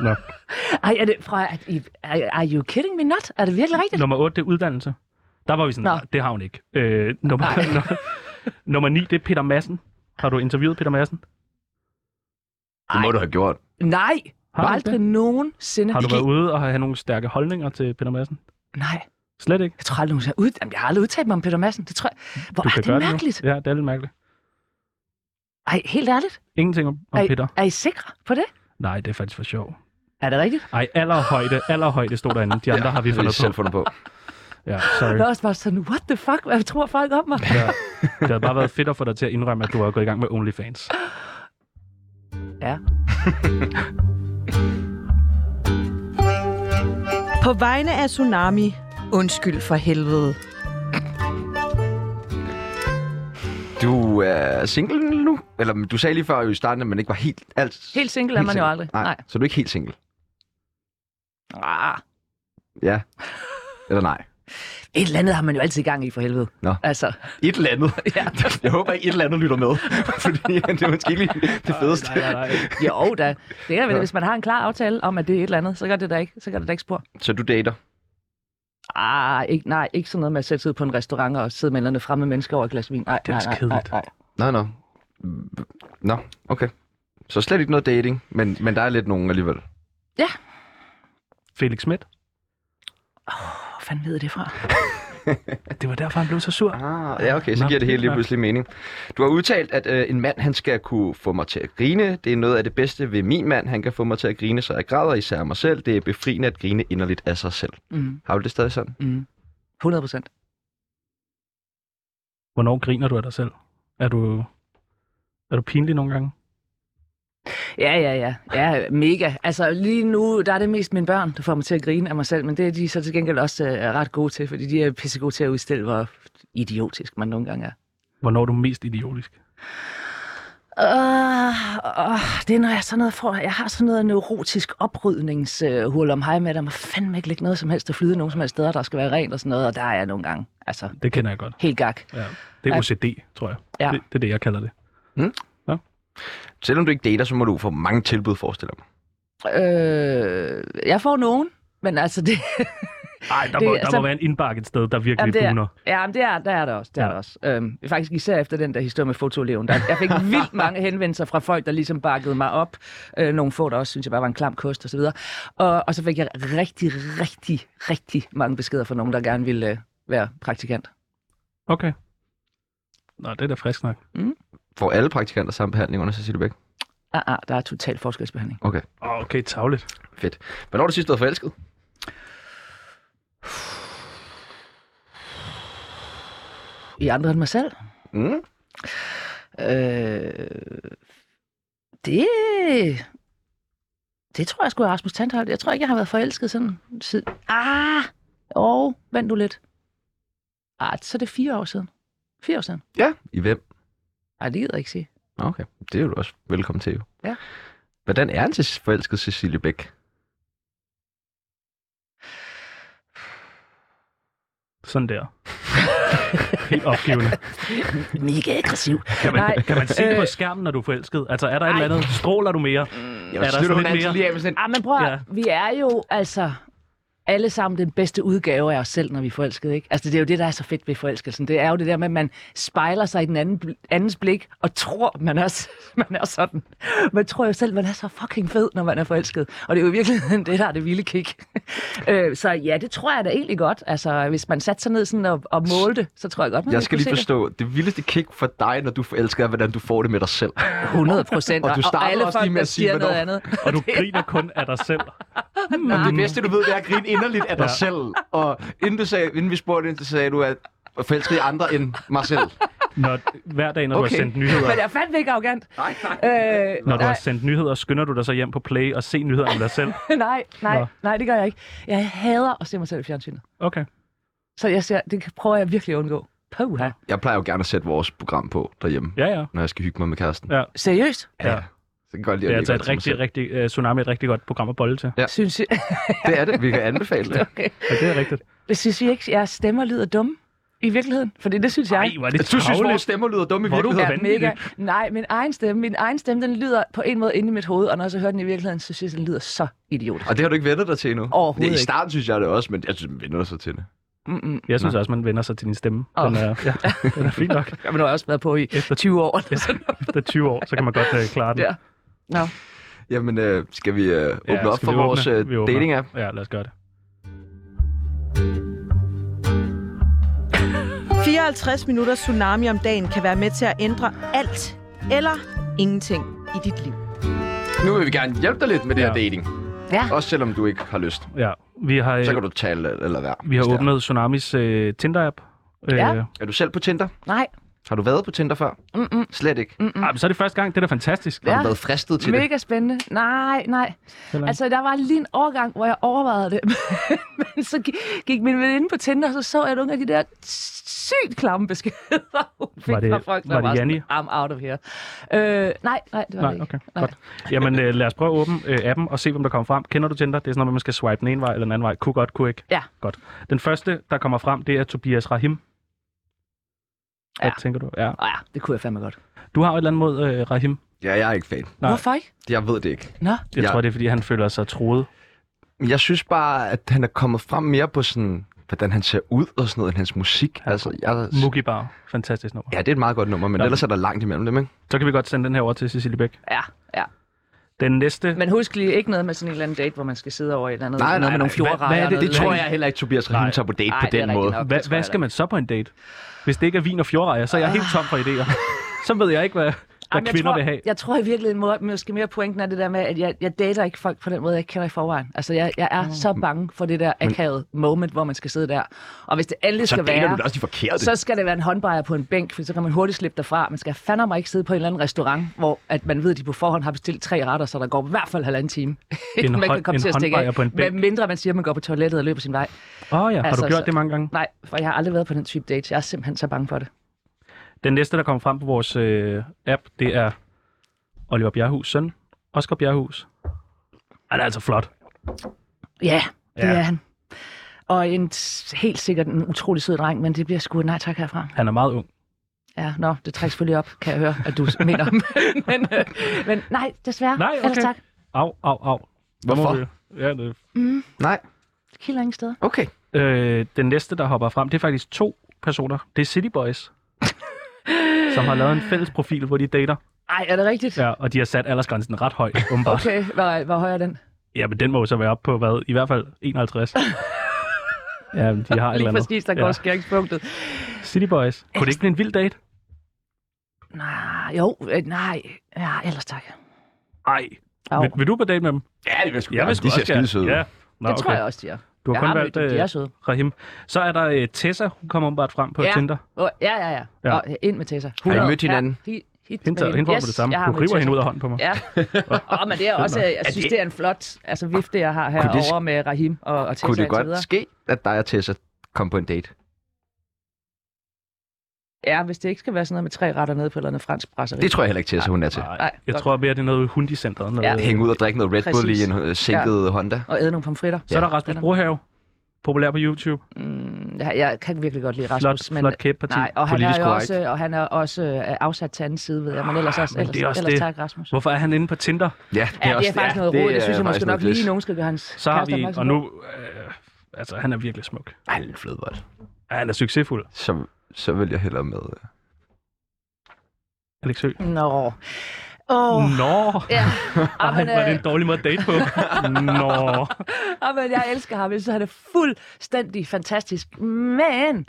S4: Nå.
S3: Ej, er det... Prøv at... Are, are you kidding me not? Er det virkelig rigtigt?
S4: Nummer 8, det er uddannelse. Der var vi sådan,
S3: Nå.
S4: "Nej, det har hun ikke. Øh, nummer,
S3: Nej.
S4: nummer, nummer 9, det er Peter Madsen. Har du interviewet Peter Madsen?
S1: Det må du have gjort.
S3: Nej,
S4: Har du,
S3: aldrig
S4: ikke
S3: nogensinde.
S4: det? har du
S1: I
S4: været
S1: gik-
S4: ude og have nogle stærke holdninger til Peter Madsen?
S3: Nej,
S4: Slet ikke.
S3: jeg tror aldrig nogensinde... Ud... Jamen, jeg har aldrig udtalt mig om Peter Madsen. Det tror jeg... Hvor
S4: Du
S3: er
S4: kan
S3: det
S4: gøre
S3: mærkeligt?
S4: det nu. Ja, det er lidt mærkeligt.
S3: Ej, helt ærligt?
S4: Ingenting om, om
S3: Ej.
S4: Peter.
S3: Er I sikre på det?
S4: Nej, det er faktisk for sjov.
S3: Er det rigtigt?
S4: Ej, allerhøjde, allerhøjde stod derinde. De andre har vi
S1: Det har
S4: fundet
S1: de selv
S4: på.
S1: fundet på.
S4: Ja,
S3: Det var
S4: sorry.
S3: også bare sådan, what the fuck? Hvad tror folk om mig?
S4: Ja. Det havde bare været fedt at få dig til at indrømme, at du har gået i gang med OnlyFans.
S3: Ja.
S5: På vegne af Tsunami, undskyld for helvede.
S1: Du er single nu? Eller du sagde lige før jo i starten, at man ikke var helt... Alt,
S3: Helt single er man jo
S1: single.
S3: aldrig.
S1: Nej,
S3: Nej.
S1: Så er du ikke helt single?
S3: Ah,
S1: Ja. Eller nej.
S3: et eller andet har man jo altid gang i, for helvede.
S1: Nå.
S3: Altså,
S1: Et eller andet.
S3: ja.
S1: Jeg håber ikke, et eller andet lytter med. Fordi det er måske ikke lige det fedeste.
S4: Nej, nej, nej.
S3: Jo, da. Det er vel,
S1: Nå.
S3: hvis man har en klar aftale om, at det er et eller andet, så gør det da ikke, så gør det da ikke spor.
S1: Så du dater?
S3: Ah, ikke, nej, ikke sådan noget med at sætte sig ud på en restaurant og sidde med en eller anden fremme mennesker over et glas vin. Nej,
S4: Det er
S3: nej,
S4: også
S3: nej, nej,
S4: kedeligt.
S3: nej.
S1: Nej, nej. Nå, okay. Så slet ikke noget dating, men, men der er lidt nogen alligevel.
S4: Felix Schmidt.
S3: Hvor fanden ved I det fra?
S4: Det var derfor, han blev så sur.
S1: Ah, ja, okay, så
S4: Nå,
S1: giver det hele lige
S4: ja.
S1: pludselig mening. Du har udtalt, at øh, en mand, han skal kunne få mig til at grine. Det er noget af det bedste ved min mand. Han kan få mig til at grine, så jeg græder især mig selv. Det er befriende at grine inderligt af sig selv.
S3: Mm,
S1: Har du det stadig sådan?
S3: mm. 100 procent.
S4: Hvornår griner du af dig selv? Er du, er du pinlig nogle gange?
S3: Ja, ja, ja. Ja, mega. Altså, lige nu, der er det mest mine børn, der får mig til at grine af mig selv, men det er de så til gengæld også øh, ret gode til, fordi de er pissegode til at udstille, hvor idiotisk man nogle gange er.
S4: Hvornår er du mest idiotisk?
S3: Uh, uh, det er, når jeg sådan noget får, jeg har sådan noget neurotisk oprydningshul om hej med, der må fandme ikke ligge noget som helst at flyde nogen som helst steder, der skal være rent og sådan noget, og der er jeg nogle gange, altså,
S4: Det kender jeg godt.
S3: helt gak.
S4: Ja. Det er
S3: Ja.
S4: OCD, tror jeg.
S3: Ja.
S4: Det, det er det, jeg kalder det.
S1: Selvom du ikke dater, så må du få mange tilbud, forestiller jeg mig.
S3: Øh, jeg får nogen, men altså, det,
S4: Ej, der,
S3: Det-
S4: må, der
S3: altså-
S4: må være en indbakke et sted, der virkelig
S3: Jamen, det er-
S4: buner.
S3: Ja, men det er, der er der også. Der
S4: Ja.
S3: ja. er der også. Øhm, faktisk især efter den der historie med fotoleven. Der, jeg fik vildt mange henvendelser fra folk, der ligesom bakkede mig op. Øh, nogle få, der også synes jeg bare var en klam kost og så videre. Og, og så fik jeg rigtig, rigtig, rigtig mange beskeder fra nogen, der gerne ville øh, være praktikant.
S4: Okay. Nå, det er da frisk nok.
S1: Får alle praktikanter samme behandling under Cecilie Bæk?
S3: Ah, ah, der er total forskelsbehandling.
S4: Åh, Okay, tavligt.
S1: Fedt. Hvornår har du sidst været forelsket?
S3: I andre end mig selv?
S1: Mm.
S3: Øh, det... Det tror jeg sgu er Rasmus Tandholt. Jeg tror ikke, jeg har været forelsket sådan siden... Ah! Og vent du lidt. Ah, så er det fire år siden. Fire år siden.
S1: Ja. I hvem?
S3: Ej, det gider jeg ikke sige.
S1: Nå, Okay, det er du også velkommen til jo.
S3: Ja.
S1: Hvordan er han til forelsket Cecilie Bæk?
S4: Sådan der. Helt opgivende.
S3: Mega aggressiv.
S4: Kan man,
S3: Nej,
S4: kan man se det på
S3: øh,
S4: skærmen, når du er forelsket? Altså, er der et eller
S3: ej.
S4: andet? Stråler du mere?
S1: Jeg
S4: Er der sådan lidt mere?
S1: lige af med sådan
S3: Ah, men prøv
S4: Ja.
S3: ja. vi er jo altså alle sammen den bedste udgave af os selv, når vi er forelskede, ikke? Altså, det er jo det, der er så fedt ved forelskelsen. Det er jo det der med, at man spejler sig i den anden, bl- andens blik, og tror, man er, man er sådan. Man tror jo selv, man er så fucking fed, når man er forelsket. Og det er jo i virkeligheden det, der er det vilde kick. øh, så ja, det tror jeg da egentlig godt. Altså, hvis man satte sig ned sådan og, og målte det, så tror jeg godt, man
S1: Jeg
S3: ville
S1: skal
S3: kunne
S1: lige
S3: se det.
S1: forstå, det vildeste kick for dig, når du forelsker, er, hvordan du får det med dig selv.
S3: 100 procent.
S1: Og du starter
S3: alle
S1: også
S3: folk,
S1: lige med
S3: der
S1: at sige,
S3: siger noget
S1: hvornår-
S3: andet.
S4: Og du griner kun af dig selv. Hmm.
S1: Og det bedste, du ved, det er at grine inderligt af dig
S4: Ja.
S1: selv. Og inden, du sagde, inden vi spurgte ind, så sagde du, at forelsket i andre end mig selv.
S4: Når, hver dag, når okay. du
S1: Okay.
S4: har sendt nyheder,
S3: Men jeg er fandme ikke arrogant.
S1: Nej, nej.
S3: Øh,
S4: når du
S3: nej.
S4: har sendt nyheder, skynder du dig så hjem på Play og se nyhederne om dig selv.
S3: nej, nej,
S4: Nå.
S3: nej, det gør jeg ikke. Jeg hader at se mig selv i fjernsynet.
S4: Okay.
S3: Så jeg ser, det prøver jeg virkelig at undgå. Puha.
S1: Jeg plejer jo gerne at sætte vores program på derhjemme,
S4: Ja, ja.
S1: når jeg skal hygge mig med kæresten.
S4: Ja.
S3: Seriøst?
S4: Ja.
S1: Så kan jeg godt lide
S4: Det er
S1: at
S4: altså
S1: lægge
S4: et
S1: det til
S4: rigtig,
S1: mig
S4: rigtig, uh, Tsunami er et rigtig godt program at bolle til.
S1: Ja.
S3: Synes I,
S1: selv. Det er det. Vi kan anbefale det.
S4: Ja, det er rigtigt.
S3: det synes I ikke, at jeres stemmer lyder dumme? I virkeligheden? For det, det synes jeg.
S4: Ej, hvor er det
S1: Du synes, vores
S4: tavligt.
S1: stemmer lyder dumme i
S4: Hvor er du
S1: virkeligheden.
S3: er
S4: vanvittigt.
S3: mega. Nej, min egen stemme, min egen stemme, den lyder på en måde inde i mit hoved, og når jeg så hører den i virkeligheden, så synes jeg, den lyder så idiotisk.
S1: Og det har du ikke vendt dig til endnu?
S3: Overhovedet
S1: I
S3: ikke.
S1: starten synes jeg det også, men jeg synes, man vender sig til det.
S3: Mm-mm.
S4: Jeg synes også, man vender sig til din stemme.
S3: Åh.
S4: Den er, ja, den er fint nok.
S3: Ja, men nu har jeg også været på i
S4: Efter
S3: 20 år. Eller sådan.
S4: Efter 20 år, så kan man godt uh, klare den.
S3: Ja. Nå.
S1: Jamen, øh, skal vi øh, åbne op
S4: skal
S1: for
S4: vi åbne?
S1: vores
S4: Vi
S1: øh,
S4: åbner.
S1: dating-app?
S4: Ja, lad os gøre det.
S5: 54 minutter tsunami om dagen kan være med til at ændre alt eller ingenting i dit liv.
S1: Nu vil vi gerne hjælpe dig lidt med det
S4: Ja.
S1: her dating.
S3: Ja.
S1: Også selvom du ikke har lyst.
S4: Ja, vi har,
S1: Så
S4: øh,
S1: kan du tale eller være.
S4: vi har åbnet Tsunamis øh, Tinder-app. Øh,
S3: Ja.
S1: Er du selv på Tinder?
S3: Nej.
S1: Har du været på Tinder før?
S3: Mm-mm.
S1: Slet ikke. Mm.
S4: ej, men så er det første gang. Det er da fantastisk.
S1: Har
S3: Ja.
S1: du været fristet til det?
S3: Mega spændende. Nej, nej.
S4: Heller ikke?
S3: Altså, der var lige en overgang, hvor jeg overvejede det. Men så gi- gik min veninde på Tinder, og så så jeg nogle af de der sygt klamme beskeder, hun fik
S4: Var det-
S3: fra folk, der
S4: var det
S3: sådan,
S4: Janni?
S3: I'm out of here. Øh, nej, nej, det var
S4: Nej,
S3: det ikke.
S4: okay. Godt. Jamen, øh, lad os prøve at åbne øh, appen og se, hvem der kommer frem. Kender du Tinder? Det er sådan noget, med, man skal swipe den ene vej eller den anden vej. Kunne godt, kunne ikke.
S3: Ja.
S4: Godt. Den første, der kommer frem, det er Tobias Rahim. Hvad
S3: Ja.
S4: tænker du? Ja.
S3: Nå ja, det kunne jeg fandme godt.
S4: Du har jo et eller andet mod øh, Rahim.
S1: Ja, jeg er ikke fan.
S4: Nej.
S3: Hvorfor ikke?
S1: Jeg ved det ikke.
S3: Nå,
S4: Jeg
S1: Ja.
S4: tror, det er, fordi han føler sig troet.
S1: Men Jeg synes bare, at han er kommet frem mere på sådan, hvordan han ser ud og sådan noget, end hans musik.
S4: Ja.
S1: Altså, jeg,
S4: Mookie Bar. Fantastisk nummer.
S1: ja, det er et meget godt nummer, men
S4: Nå.
S1: ellers er der langt imellem dem, ikke?
S4: Så kan vi godt sende den her over til Cecilie Bæk.
S3: ja, ja.
S4: Den næste...
S3: Men husk lige ikke noget med sådan en eller anden date, hvor man skal sidde over i et eller andet.
S1: Nej, nej,
S3: noget med
S1: nej.
S3: nogle fjordrejer.
S4: Hvad- hvad er
S3: og
S4: det-
S3: noget
S4: tror
S3: lidt-
S4: jeg
S1: heller ikke, Tobias
S4: Rahim Nej.
S1: tager på date
S3: Ej, på det er den rigtigt måde. nok.
S4: Hva,
S3: det tror
S4: hvad
S3: jeg
S4: skal
S3: da.
S4: man så på en date? Hvis det ikke er vin og fjordrejer, så er jeg helt tom for idéer. så ved jeg ikke, hvad, hvad
S3: Jamen, jeg
S4: kvinder
S3: tror,
S4: vil have.
S3: Jeg tror i virkeligheden må, måske mere pointen er det der med, at jeg, jeg dater ikke folk på den måde, jeg ikke kender i forvejen. Altså, jeg, jeg er så bange for det der akavet moment, hvor man skal sidde der. Og hvis det endelig
S1: Så
S3: skal
S1: dater
S3: være...
S1: du da også de forkerte.
S3: Så skal det være en håndbejer på en bænk, for så kan man hurtigt slippe derfra. Man skal fandme mig ikke sidde på en eller anden restaurant, hvor at man ved, at de på forhånd har bestilt tre retter, så der går i hvert fald halvanden time. inden man
S4: hånd- en
S3: stikke af.
S4: håndbejer på en bænk.
S3: Hvad mindre man siger, at man går på toilettet og løber sin vej.
S4: Åh oh, ja, har
S3: Altså,
S4: du gjort
S3: så-
S4: det mange gange?
S3: Nej, for jeg har aldrig været på den type date. Jeg er simpelthen så bange for det.
S4: Den næste, der kommer frem på vores øh, app, det er Oliver Bjerghus søn. Oscar Bjerghus. Han er altså flot.
S3: Ja, det
S4: Ja.
S3: ja. er han. Og en s- helt sikkert en utrolig sød dreng, men det bliver sgu et nej tak herfra.
S4: Han er meget ung.
S3: Ja, nå, det trækker selvfølgelig op, kan jeg høre, at du mener. men, øh, men nej, desværre.
S4: Nej, okay.
S3: Ellers tak.
S4: Au, au, au. Der må
S1: Hvorfor?
S4: vi- Ja, det.
S1: Nej,
S3: Det kilder ingen steder.
S1: okay.
S4: Øh, den næste, der hopper frem, det er faktisk to personer. Det er City Boys. som har lavet en fælles profil, hvor de dater.
S3: Ej, er det rigtigt?
S4: Ja, og de har sat aldersgrænsen ret højt, åbenbart. Okay.
S3: Okay, hvor, hvor høj er den?
S4: Ja, men den må jo så være op på, hvad? I hvert fald 51. ja, men de har et eller
S3: Lige
S4: andet.
S3: præcis, der går
S4: Ja.
S3: ja. skæringspunktet.
S4: City Boys. Kunne det ikke blive en vild date?
S3: Nej, jo, øh, nej. Ja, ellers tak.
S4: Nej.
S3: Jo.
S4: Vil, vil, du på date med dem?
S1: Ja, det vil jeg sgu
S4: Jeg
S1: gerne.
S4: vil sgu
S1: De ser
S4: også gerne.
S1: skide søde ud.
S4: Ja. Nå,
S3: det tror jeg også, de er.
S4: Du har
S3: jeg
S4: kun
S3: har
S4: valgt
S3: mødt dem, de er
S4: øh,
S3: søde.
S4: Rahim. Så er der øh, Tessa, hun kommer åbenbart frem på
S3: Ja.
S4: Tinder.
S3: Oh, ja, ja, ja.
S4: Ja.
S3: ja. Og, øh, ind med Tessa.
S1: I
S3: 100.
S1: mødt hinanden?
S3: Ja, hit, hit med
S4: Hende, tager- hende får på
S3: Yes,
S4: det samme.
S3: jeg har
S4: Du
S3: mødt
S4: river
S3: Tessa.
S4: hende ud af hånden på mig.
S3: Ja, og men det er også, jeg synes,
S1: det-
S3: det er en flot altså, vifte, jeg har
S1: Kunne det
S3: herovre med Rahim og, og Tessa
S1: Kunne det
S3: og så videre.
S1: godt ske, at dig og Tessa kom på en date?
S3: Ja, hvis det ikke skal være sådan noget med tre retter nede på et eller andet fransk brasserie.
S1: Det tror jeg heller ikke, Tessa hun er til.
S4: Nej,
S3: Nej,
S4: jeg
S3: godt.
S4: tror mere, det er noget hundicenteret. Noget.
S3: Ja.
S4: Ja.
S1: Hænge ud og drikke noget Red Bull i
S3: Præcis.
S1: en øh, sænket Honda.
S3: Og æde nogle pomfritter.
S4: Så er der Rasmus
S3: Den er-
S4: Brohave. populær på YouTube.
S3: Mm, jeg, jeg kan virkelig godt lide
S4: Flot,
S3: Rasmus.
S4: flot kæbeparti.
S3: nej, og han
S4: Politisk
S3: er jo
S4: korrekt. Ah,
S3: også, og han er også øh, afsat til anden side, ved jeg. Men ellers, også,
S4: men
S3: ellers,
S4: det er også
S3: ellers
S4: det.
S3: tak, Rasmus.
S4: Hvorfor er han inde på Tinder?
S1: Ja,
S3: Ja, det er, faktisk noget roligt. Det synes jeg måske nok lige, nogen skal gøre hans
S4: Så har
S3: kæreste
S4: vi,
S3: opmærksom
S4: og
S3: på.
S4: nu, øh, altså han er virkelig smuk.
S1: Ej, en flødebold.
S4: Ja, han er succesfuld,
S1: Så, så vil jeg hellere med... øh,
S4: Alex Høgh.
S3: Nå. Åh, oh,
S4: Nå,
S3: ja.
S4: Ej,
S3: Jamen,
S4: var det
S3: øh,
S4: en dårlig måde at date på. Nå,
S3: jamen, jeg elsker ham. Jeg synes, han er fuldstændig fantastisk. Men...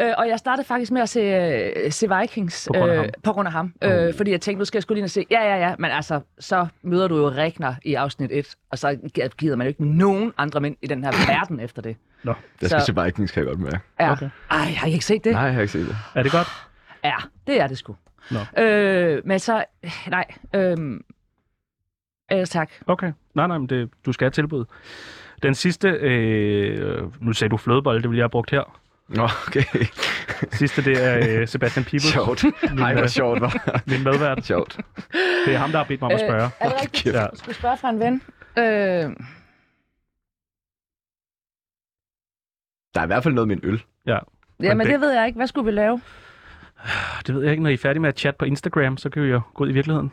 S3: Øh, og jeg startede faktisk med at se, øh, se Vikings
S4: På grund af
S3: øh,
S4: ham.
S3: på grund af ham. Øh, fordi jeg tænkte, nu skal jeg skulle lige ind og se. Ja, ja, ja. Men altså, så møder du jo Regner i afsnit 1. Og så gider man jo ikke nogen andre mænd i den her verden efter det.
S4: Nå.
S1: Jeg skal
S3: Så-
S1: se Vikings, kan jeg godt mærke.
S3: Ja.
S4: Okay.
S3: Okay. Ej, har I ikke set det?
S1: Nej, jeg har ikke set det.
S4: er det godt?
S3: Ja, det er det sgu.
S4: Nå.
S3: Øh, men så, nej. Øh, ellers tak.
S4: Okay. Nej, nej, men det, du skal have tilbud. Den sidste, øh, nu sagde du flødebolle, det vil jeg have brugt her.
S1: Nå, okay.
S4: Sidste, det er øh, Sebastian Pibels,
S1: sjovt. Nej, hvor sjovt, var
S4: min medvært.
S1: Sjovt.
S4: Det er ham, der har bedt mig om at
S3: Øh,
S4: spørge.
S3: Er det rigtigt?
S1: Kæft.
S4: Ja.
S3: Ja. Skulle spørge fra en ven? Øh,
S1: Der er i hvert fald noget med en øl.
S3: jamen,
S4: dag.
S3: det ved jeg ikke. Hvad skulle vi lave?
S4: Det ved jeg ikke, når I er færdige med at chatte på Instagram, så kan vi jo gå ud i virkeligheden.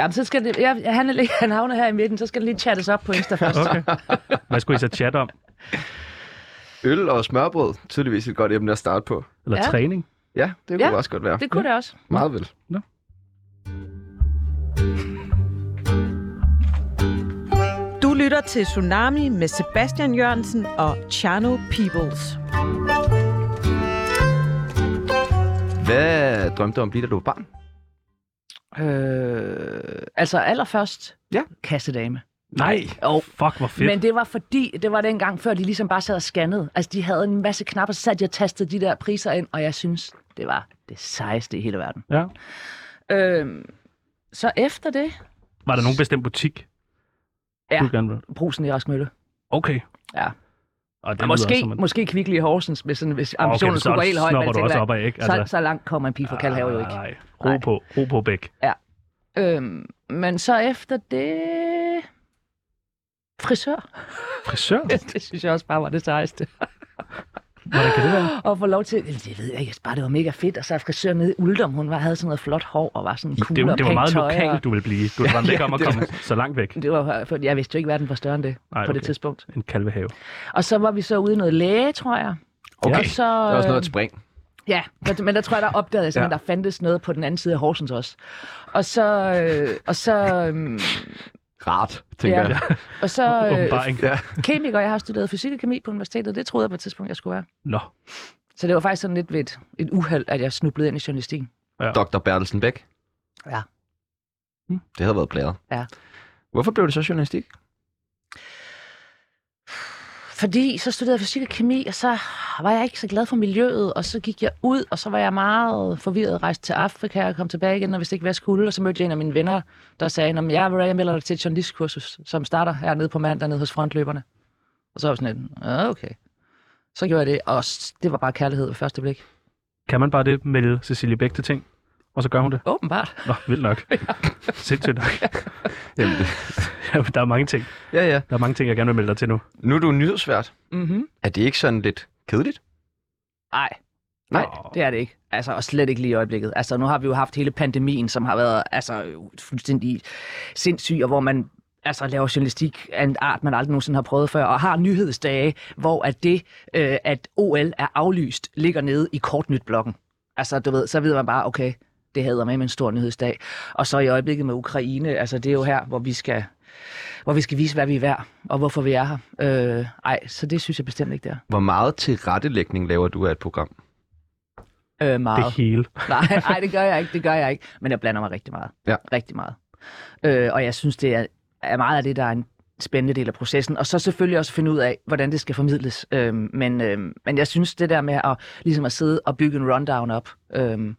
S3: Jamen, så skal det, jeg, jeg- han, er, lige- han havner her i midten, så skal det lige chattes op på Insta først.
S4: Okay. Hvad skulle I så chatte om?
S1: Øl og smørbrød, tydeligvis et godt emne at starte på.
S4: Eller ja.
S3: Ja.
S4: træning?
S1: Ja, det kunne
S3: Ja.
S1: ja. også godt være.
S3: Det kunne det også.
S1: Meget vel.
S5: Du lytter til Tsunami med Sebastian Jørgensen og Chano Peoples.
S1: Hvad drømte du om lige, da du var barn?
S3: Øh, altså allerførst,
S1: Ja.
S3: kassedame.
S4: Nej.
S3: Jo.
S4: Fuck, hvor fedt. Men...
S3: Men det var fordi, det var dengang, før de ligesom bare sad og scannede. Altså, de havde en masse knapper, så sad de og tastede de der priser ind, og jeg synes, det var det sejeste i hele verden.
S4: Ja.
S3: Øh, så efter det,
S4: Var der nogen bestemt butik?
S3: Ja.
S4: Du gerne vil?
S3: brusen i Rask Mølle.
S4: Okay.
S3: Ja.
S4: Og det
S3: Ja, måske, en... måske kvicklig i Horsens, hvis, sådan,
S4: Ah,
S3: hvis ambitionen okay, skulle gå helt højt. men jeg
S4: Snopper du
S3: tænker,
S4: også op af, ikke? Altså-
S3: Så, så langt kommer en pige fra Kalhave jo ikke.
S4: Nej, nej. Ro
S3: Nej.
S4: på, ro på Bæk.
S3: Øhm, men så efter det... Frisør.
S4: Frisør?
S3: Det synes jeg også bare var det sejeste.
S4: Hvordan kan det være?
S3: Og få lov til... Jamen, Det ved jeg ikke. bare, det var mega fedt. Og så er frisør nede i Uldum. Hun var, havde sådan noget flot hår og var sådan cool
S4: Det,
S3: og
S4: det var
S3: pænt
S4: meget
S3: tøj,
S4: lokalt,
S3: Og...
S4: du ville blive. Du var ikke om at komme så langt væk.
S3: Det var, for jeg vidste jo ikke, verden var større end det
S4: Nej,
S3: Ej, på det
S4: okay.
S3: tidspunkt.
S4: En kalvehave.
S3: Og så var vi så ude i noget læge, tror jeg.
S1: Okay.
S3: Og så,
S1: Der er også noget at springe.
S3: Ja, men- men der tror jeg, der opdagede jeg simpelthen, ja. der fandtes noget på den anden side af Horsens også. Og så... Øh, og så... Øh,
S1: Rart, tænker
S3: Ja.
S1: jeg.
S3: og så øh,
S4: Åbenbaring.
S1: Ja.
S3: kemiker, jeg har studeret fysik og kemi på universitetet, det troede jeg på et tidspunkt, jeg skulle være.
S4: Nå.
S3: Så det var faktisk sådan lidt ved et, et uheld, at jeg snublede ind i journalistikken.
S1: Dr. Bertelsen Bæk.
S3: Ja.
S1: Hm, Det havde været blæret.
S3: Ja.
S1: Hvorfor blev det så journalistik?
S3: Fordi så studerede jeg fysik og kemi, og så var jeg ikke så glad for miljøet, og så gik jeg ud, og så var jeg meget forvirret, rejste til Afrika og kom tilbage igen, og vidste ikke, hvad jeg skulle, og så mødte jeg en af mine venner, der sagde, at jeg, jeg melder dig til et journalistkursus, som starter hernede på mandag nede hos frontløberne. Og så var jeg sådan lidt, "Ah, okay. Så gjorde jeg det, og s- det var bare kærlighed ved første blik.
S4: Kan man bare det melde Cecilie Bæk til ting? Og så gør hun det?
S3: Åbenbart.
S4: Nå, vildt nok. Sindssygt nok.
S1: Jamen, det...
S4: Jamen, der er mange ting.
S1: Ja, ja.
S4: Der er mange ting, jeg gerne vil melde dig til nu.
S1: Nu er du nyhedsvært.
S3: Mhm.
S1: Er det ikke sådan lidt kedeligt?
S3: Nej,
S1: Nej.
S4: Åh,
S3: det er det ikke. Altså, og slet ikke lige i øjeblikket. Altså, nu har vi jo haft hele pandemien, som har været altså, jo fuldstændig sindssyg, og hvor man altså, laver journalistik af en art, man aldrig nogensinde har prøvet før, og har nyhedsdage, hvor at det, øh, at OL er aflyst, ligger nede i kortnyt-blokken. Altså, du ved, så ved man bare, okay, det hader med med en stor nyhedsdag. Og så i øjeblikket med Ukraine, altså det er jo her, hvor vi skal, hvor vi skal vise, hvad vi er værd, og hvorfor vi er her. Øh, ej, så det synes jeg bestemt ikke, det
S1: Hvor meget tilrettelægning laver du af et program?
S3: er. Øh, meget.
S4: Det hele.
S3: Nej, nej, det gør jeg ikke, det gør jeg ikke. Men jeg blander mig rigtig meget.
S1: Ja.
S3: Rigtig meget. Øh, og jeg synes, det er, er meget af det, der er en spændende del af processen. Og så selvfølgelig også finde ud af, hvordan det skal formidles. Øhm, men, øhm, men jeg synes, det der med at, ligesom at sidde og bygge en rundown op, øhm,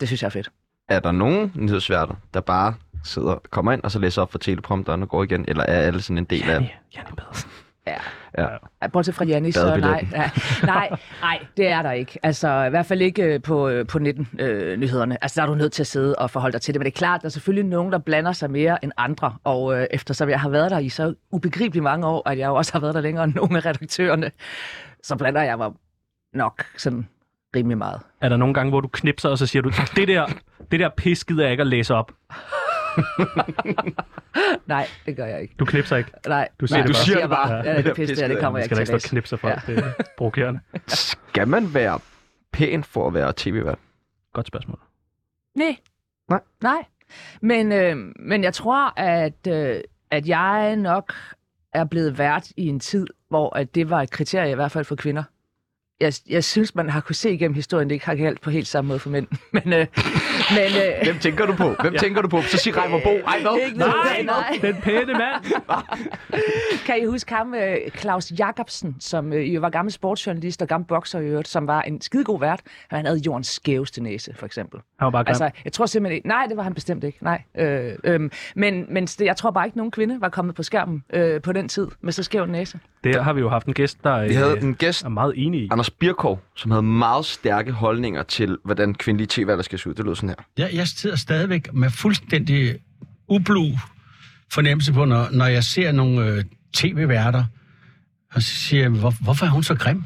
S3: det synes jeg er fedt.
S1: Er der nogen nyhedsværter, der bare sidder, kommer ind og så læser op for teleprompteren og går igen? Eller er alle sådan en del af det?
S4: Janne Pedersen.
S3: Ej, Bortset fra Janni, så nej.
S1: Badebilletten.
S3: Ja, nej, nej, det er der ikke. Altså, i hvert fald ikke øh, på, øh, på 19-nyhederne. altså, der er du nødt til at sidde og forholde dig til det. Men det er klart, der er selvfølgelig nogen, der blander sig mere end andre. Og øh, eftersom jeg har været der i så ubegribeligt mange år, at jeg jo også har været der længere end nogle af redaktørerne, så blander jeg mig nok sådan rimelig meget.
S4: Er der nogle gange, hvor du knipser, og så siger du, det der, det der pis gider jeg ikke at læse op.
S3: Nej, det gør jeg ikke.
S4: Du knipser ikke.
S3: Nej,
S4: Du siger
S3: nej, jeg
S4: det bare.
S1: Siger det bare.
S3: Ja, det, er pis, det, her, det kommer
S4: Man
S3: jeg
S4: skal
S3: ikke
S4: da
S3: til
S4: ikke
S3: at
S4: stå og
S3: læse.
S4: knipse for. Ja. Det er provokerende.
S1: Skal man være pæn for at være tv-vært?
S4: Godt spørgsmål.
S3: Nej.
S1: Nej.
S3: Nej. Men, øh, men jeg tror, at, øh, at jeg nok er blevet vært i en tid, hvor at det var et kriterie, i hvert fald for kvinder. Jeg, jeg synes, man har kunne se igennem historien, det ikke har galt på helt samme måde for mænd. Men, øh, men øh,
S1: Hvem tænker du på? Hvem tænker du på? Så sig Reimer Bo. Ej, hvad?
S3: Ikke noget. Nej, nej.
S4: Den pæne mand.
S3: kan I huske ham, øh, Claus Jacobsen, som øh, jo var gammel sportsjournalist og gammel bokser i øvrigt, som var en skidegod vært. Han havde jordens skæveste næse, for eksempel.
S4: Han var bare grim.
S3: Altså, jeg tror simpelthen ikke... Nej, det var han bestemt ikke. Nej. Øh, øhm, men men det, jeg tror bare ikke, nogen kvinde var kommet på skærmen øh, på den tid med så skæv en næse.
S4: Det har vi jo haft en gæst, der
S1: Vi havde
S4: øh,
S1: en gæst,
S4: er meget enig i.
S1: Anders Birkov, som havde meget stærke holdninger til, hvordan kvindelige tv-værter skal se ud. Det lød sådan her.
S7: Jeg, jeg sidder stadigvæk med fuldstændig ublu fornemmelse på, når, når jeg ser nogle øh, tv-værter, og så siger jeg, hvor, hvorfor er hun så grim?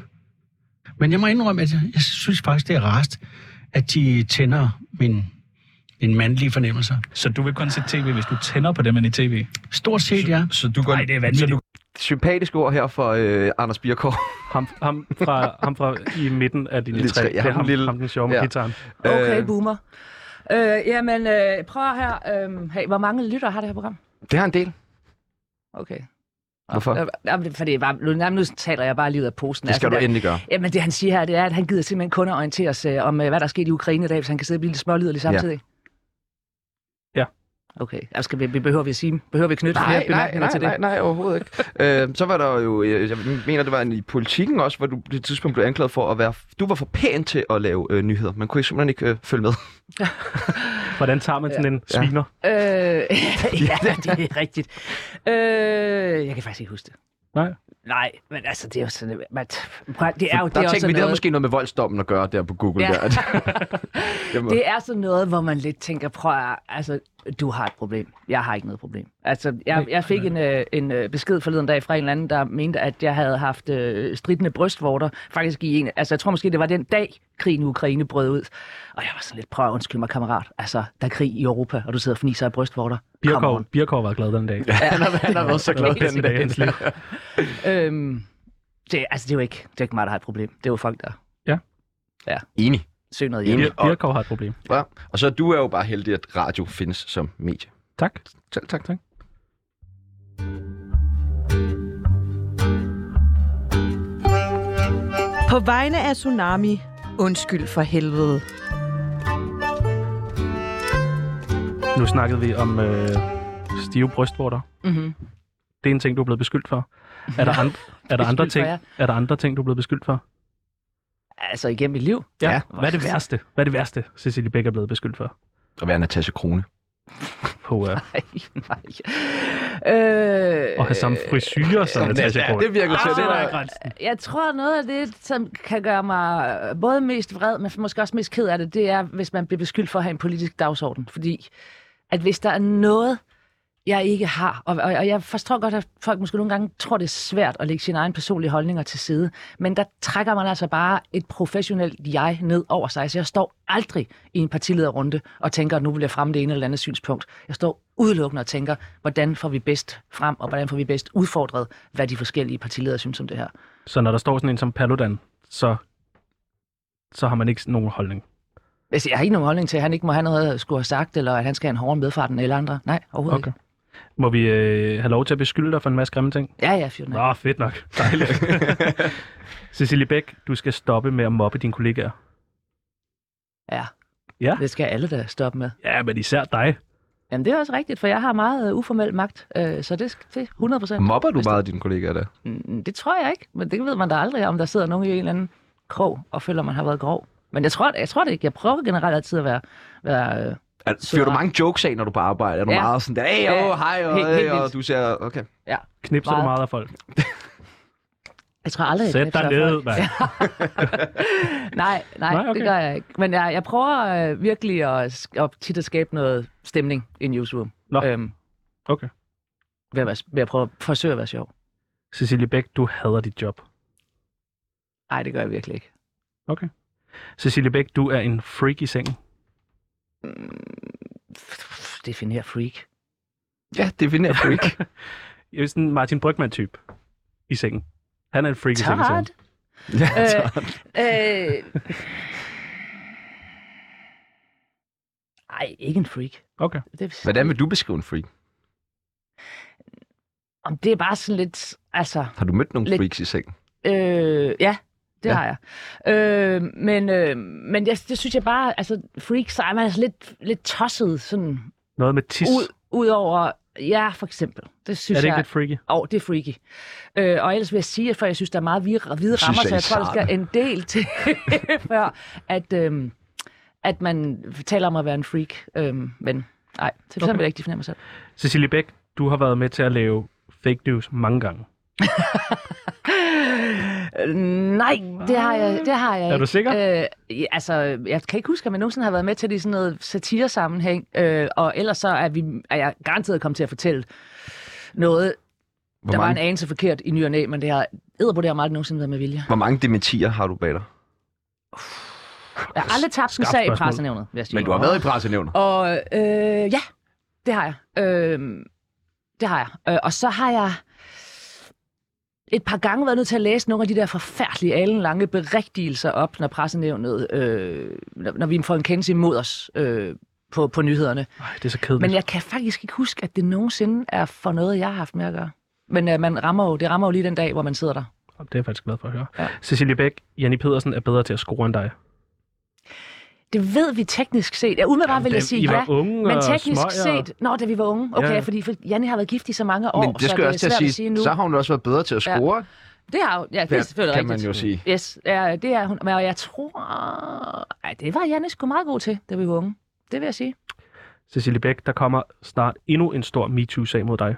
S7: Men jeg må indrømme, at jeg, jeg synes faktisk, det er rarest, at de tænder min, min mandlige fornemmelser.
S8: Så du vil kun se tv, hvis du tænder på dem end i tv?
S7: Stort set, ja.
S8: Så du går... Nej, det er
S1: Så
S8: vanvittigt.
S1: du... Sympatisk ord her for øh, Anders Birkov.
S4: Ham, ham, fra, ham fra i midten af dine
S1: Lille
S4: tre.
S1: træ,
S4: Det
S1: ja,
S4: er
S1: ham
S4: ham,
S1: lille-
S4: ham den sjove med
S1: ja.
S4: guitaren.
S3: Okay,
S1: Øh,
S3: boomer. Øh, jamen, øh, prøv her. Øh, hey, hvor mange lytter har det her program?
S1: det har en del.
S3: Okay.
S1: Hvorfor?
S3: Øh, Jamen, det- fordi bare, nu, jamen, nu taler jeg bare lige ud af posen.
S1: Det skal du
S3: der,
S1: endelig gøre.
S3: Jamen, altså, det han siger her, det er, at han gider simpelthen kun at orientere sig om, øh, hvad der er sket i Ukraine i dag, hvis han kan sidde og blive lidt småliderlig samtidig.
S4: Ja.
S3: Okay, altså, skal vi, vi behøver vi at sige, behøver vi at knytte flere
S1: Nej, nej,
S3: bemærkninger
S1: nej,
S3: til det?
S1: nej, nej, overhovedet ikke. øh, så var der jo, øh, jeg mener, det var en, i politikken også, hvor du på et tidspunkt blev anklaget for at være, du var for pæn til at lave øh, nyheder. Man kunne simpelthen ikke øh, følge med.
S4: Hvordan tager man sådan en
S1: Ja.
S4: sviner?
S3: Øh, ja, det er rigtigt. Øh, jeg kan faktisk ikke huske det.
S4: Nej.
S3: Nej, men altså, det er jo sådan... Man, prøv at- det er jo, det
S1: der
S3: er også
S1: tænkte vi,
S3: sådan
S1: det havde
S3: noget,
S1: måske noget med voldsdommen at gøre der på Google.
S3: Ja.
S1: Ja. Der. det,
S3: det er sådan noget, hvor man lidt tænker, prøv at, altså, du har et problem. Jeg har ikke noget problem. Altså, jeg, jeg fik en, øh, en øh, besked forleden dag fra en eller anden, der mente, at jeg havde haft øh, stridende brystvorter. Faktisk i en... Altså, jeg tror måske, det var den dag, krigen i Ukraine brød ud. Og jeg var sådan lidt, prøv at undskylde mig, kammerat. Altså, der er krig i Europa, og du sidder og fniser af brystvorter. Come
S4: Birkov,
S3: on.
S4: Birkov var glad den dag. Ja,
S1: han, har, han har været så glad den dag. altså.
S4: hans liv.
S3: Øhm, det, altså, det er jo ikke, det er ikke mig, der har et problem. Det er jo folk, der
S1: Enig.
S3: søger noget
S1: Enig.
S3: hjælp.
S4: Bir- Birkov har et problem.
S1: Ja. Og så er du er jo bare heldig, at radio findes som medie.
S4: Tak.
S1: Selv tak.
S4: Tak.
S5: På vegne af Tsunami, undskyld for helvede.
S4: Nu snakkede vi om øh, stive brystvorter.
S3: Mm-hmm.
S4: Det er en ting, du er blevet beskyldt for. Er der, andre, er der, andre,
S3: Beskyldt for,
S4: ting,
S3: ja.
S4: er der andre ting, du er blevet beskyldt for?
S3: Altså, igennem mit liv.
S1: Ja.
S4: Hvad er det værste? Hvad er det værste, Cecilie Bæk er blevet beskyldt for?
S1: At være Natasha Krone.
S4: På øh,
S3: Nej, nej. Øh,
S4: at have samme frisyrer som Natasha Krone. Ah,
S1: det virker til.
S4: Så
S1: Det
S4: er der
S1: var,
S4: grænsen.
S3: Jeg tror, noget af det, som kan gøre mig øh, både mest vred, men måske også mest ked af det, det er, hvis man bliver beskyldt for at have en politisk dagsorden. Fordi at hvis der er noget, jeg ikke har, og, og, og jeg forstår godt, at folk måske nogle gange tror, det er svært at lægge sine egne personlige holdninger til side, men der trækker man altså bare et professionelt jeg ned over sig. Så jeg står aldrig i en partilederrunde og tænker, at nu vil jeg fremme det ene eller andet synspunkt. Jeg står udelukkende og tænker, hvordan får vi bedst frem, og hvordan får vi bedst udfordret, hvad de forskellige partiledere synes om det her.
S4: Så når der står sådan en som Paludan, så, så har man ikke nogen holdning.
S3: Altså, jeg har ikke nogen holdning til, at han ikke må have noget at skulle have sagt, eller at han skal have en hårdere medfart end alle andre. Nej, overhovedet okay.
S4: Okay.
S3: ikke.
S4: Må vi øh, have lov til at beskylde dig for en masse grimme ting?
S3: Ja, ja, fyr den af.
S4: Nå, fedt nok. Dejligt. Cecilie Bæk, du skal stoppe med at mobbe dine kollegaer.
S3: Ja.
S4: Ja.
S3: Det skal alle da stoppe med.
S4: Ja, men især dig.
S3: Jamen, det er også rigtigt, for jeg har meget øh, uformel magt, øh, så det sk- det er 100 procent. Altså,
S1: mobber du meget dine kollegaer der?
S3: Det tror jeg ikke, men det ved man da aldrig, om der sidder nogen i en eller anden krog og føler, man har været grov. Men jeg tror, jeg tror det ikke. Jeg prøver generelt altid at være... være øh,
S1: Er,
S3: Så
S1: fyrer du
S3: har-
S1: mange jokes af, når du er på arbejde? Er du
S3: Ja.
S1: meget sådan der, hey,
S3: Ja.
S1: oh, hej, og,
S3: Helt-
S1: hey,
S3: helt
S1: og
S3: vildt.
S1: du ser, okay.
S4: Knipser meget.
S3: Meget.
S4: du meget af folk?
S3: Jeg tror aldrig, jeg
S4: Sæt
S3: knipser
S4: dig
S3: folk.
S4: ned, mand.
S3: nej, nej,
S4: Nej,
S3: nej okay.
S4: okay.
S3: det gør jeg ikke. Men jeg, jeg prøver øh, virkelig at, sk- at tit at skabe noget stemning i newsroom.
S4: Nå.
S3: Øhm,
S4: Okay.
S3: Ved at, være, ved at prøve at forsøge at være sjov.
S4: Cecilie Bæk, du hader dit job.
S3: Nej, det gør jeg virkelig ikke.
S4: Cecilie Bæk, du er en freak i sengen.
S3: Definer freak.
S1: Ja, det finder jeg sgu ikke.
S4: Jeg er sådan en Martin Brygman-type i sengen. Han er en freak i sengen.
S3: Tart.
S4: sådan.
S1: ja,
S3: Øh,
S1: tak.
S3: øh, Ej, ikke en freak.
S4: Okay.
S3: Det,
S1: Hvordan vil du beskrive en freak?
S3: Om det er bare sådan lidt, altså...
S1: Har du mødt nogle
S3: Lidt-
S1: freaks i sengen?
S3: Øh, ja, det
S1: Ja.
S3: ja. har jeg. Øh, men øh, men jeg, det synes jeg bare, altså freaks, så er man altså lidt, lidt tosset sådan
S4: Noget med tis.
S3: ud, ud over, ja, for eksempel. Det synes
S4: er det ikke
S3: jeg,
S4: lidt freaky?
S3: Åh, oh, det er freaky. Øh, og ellers vil jeg sige, for jeg synes, der er meget hvide, hvide
S1: synes,
S3: rammer,
S1: jeg
S3: så
S1: er
S3: jeg tror, der skal
S1: sart.
S3: en del til, før at, øhm, at man taler om at være en freak. Øhm, men nej, til okay. vil jeg ikke definere mig selv.
S4: Cecilie Bæk, du har været med til at lave fake news mange gange.
S3: Øh, nej, det har jeg, det har jeg
S4: Er
S3: ikke.
S4: du sikker?
S3: Øh, ja, altså, jeg kan ikke huske, om jeg nogensinde har været med til det i sådan noget satiresammenhæng. Øh, og ellers så er, vi, er jeg garanteret kommet til at fortælle noget,
S1: Hvor
S3: der var en
S1: mange,
S3: anelse forkert i ny og næ, men det har edderbo, det har mig aldrig nogensinde været med vilje.
S1: hvor mange dementier har du bag dig?
S3: Jeg har aldrig tabt en
S4: Skarpt
S3: sag i
S4: spørgsmål.
S3: pressenævnet, vil jeg sige.
S1: Men du har været i pressenævner.
S3: Og øh, ja, det har jeg. Øh, det har jeg. Øh, og så har jeg et par gange været nødt til at læse nogle af de der forfærdelige, alenlange berigtigelser op, når pressenævnet, øh, når, når vi får en kendelse imod os øh, på, på nyhederne.
S4: Ej, det er så kedeligt.
S3: Men jeg kan faktisk ikke huske, at det nogensinde er for noget, jeg har haft med at gøre. Men øh, man rammer jo, det rammer jo lige den dag, hvor man sidder der.
S4: Jamen, Det er jeg faktisk glad for at høre. Ja.
S3: Ja.
S4: Cecilie Bæk, Janni Pedersen er bedre til at score end dig.
S3: Det ved vi teknisk set. Ja, umiddelbart vil
S4: da
S3: jeg sige
S4: I var
S3: ja.
S4: unge
S3: men
S4: og
S3: teknisk
S4: smøger.
S3: set, når da vi var unge, okay,
S4: Ja,
S3: ja,
S4: ja.
S3: ja. fordi for Janne har været gift i så mange år,
S1: Men det
S3: så
S1: skal
S3: det
S1: jeg
S3: er
S1: også til
S3: svært
S1: at sige,
S3: sige nu.
S1: så har hun også været bedre til at
S3: Ja.
S1: score,
S3: Det har hun, ja, det
S1: Ja,
S3: er selvfølgelig
S1: kan man
S3: rigtigt.
S1: jo sige.
S3: Yes, ja, det er hun. Men jeg tror... Ej, det var Janne sgu meget god til, da vi var unge. Det vil jeg sige.
S4: Cecilie Bæk, der kommer snart endnu en stor MeToo-sag mod dig.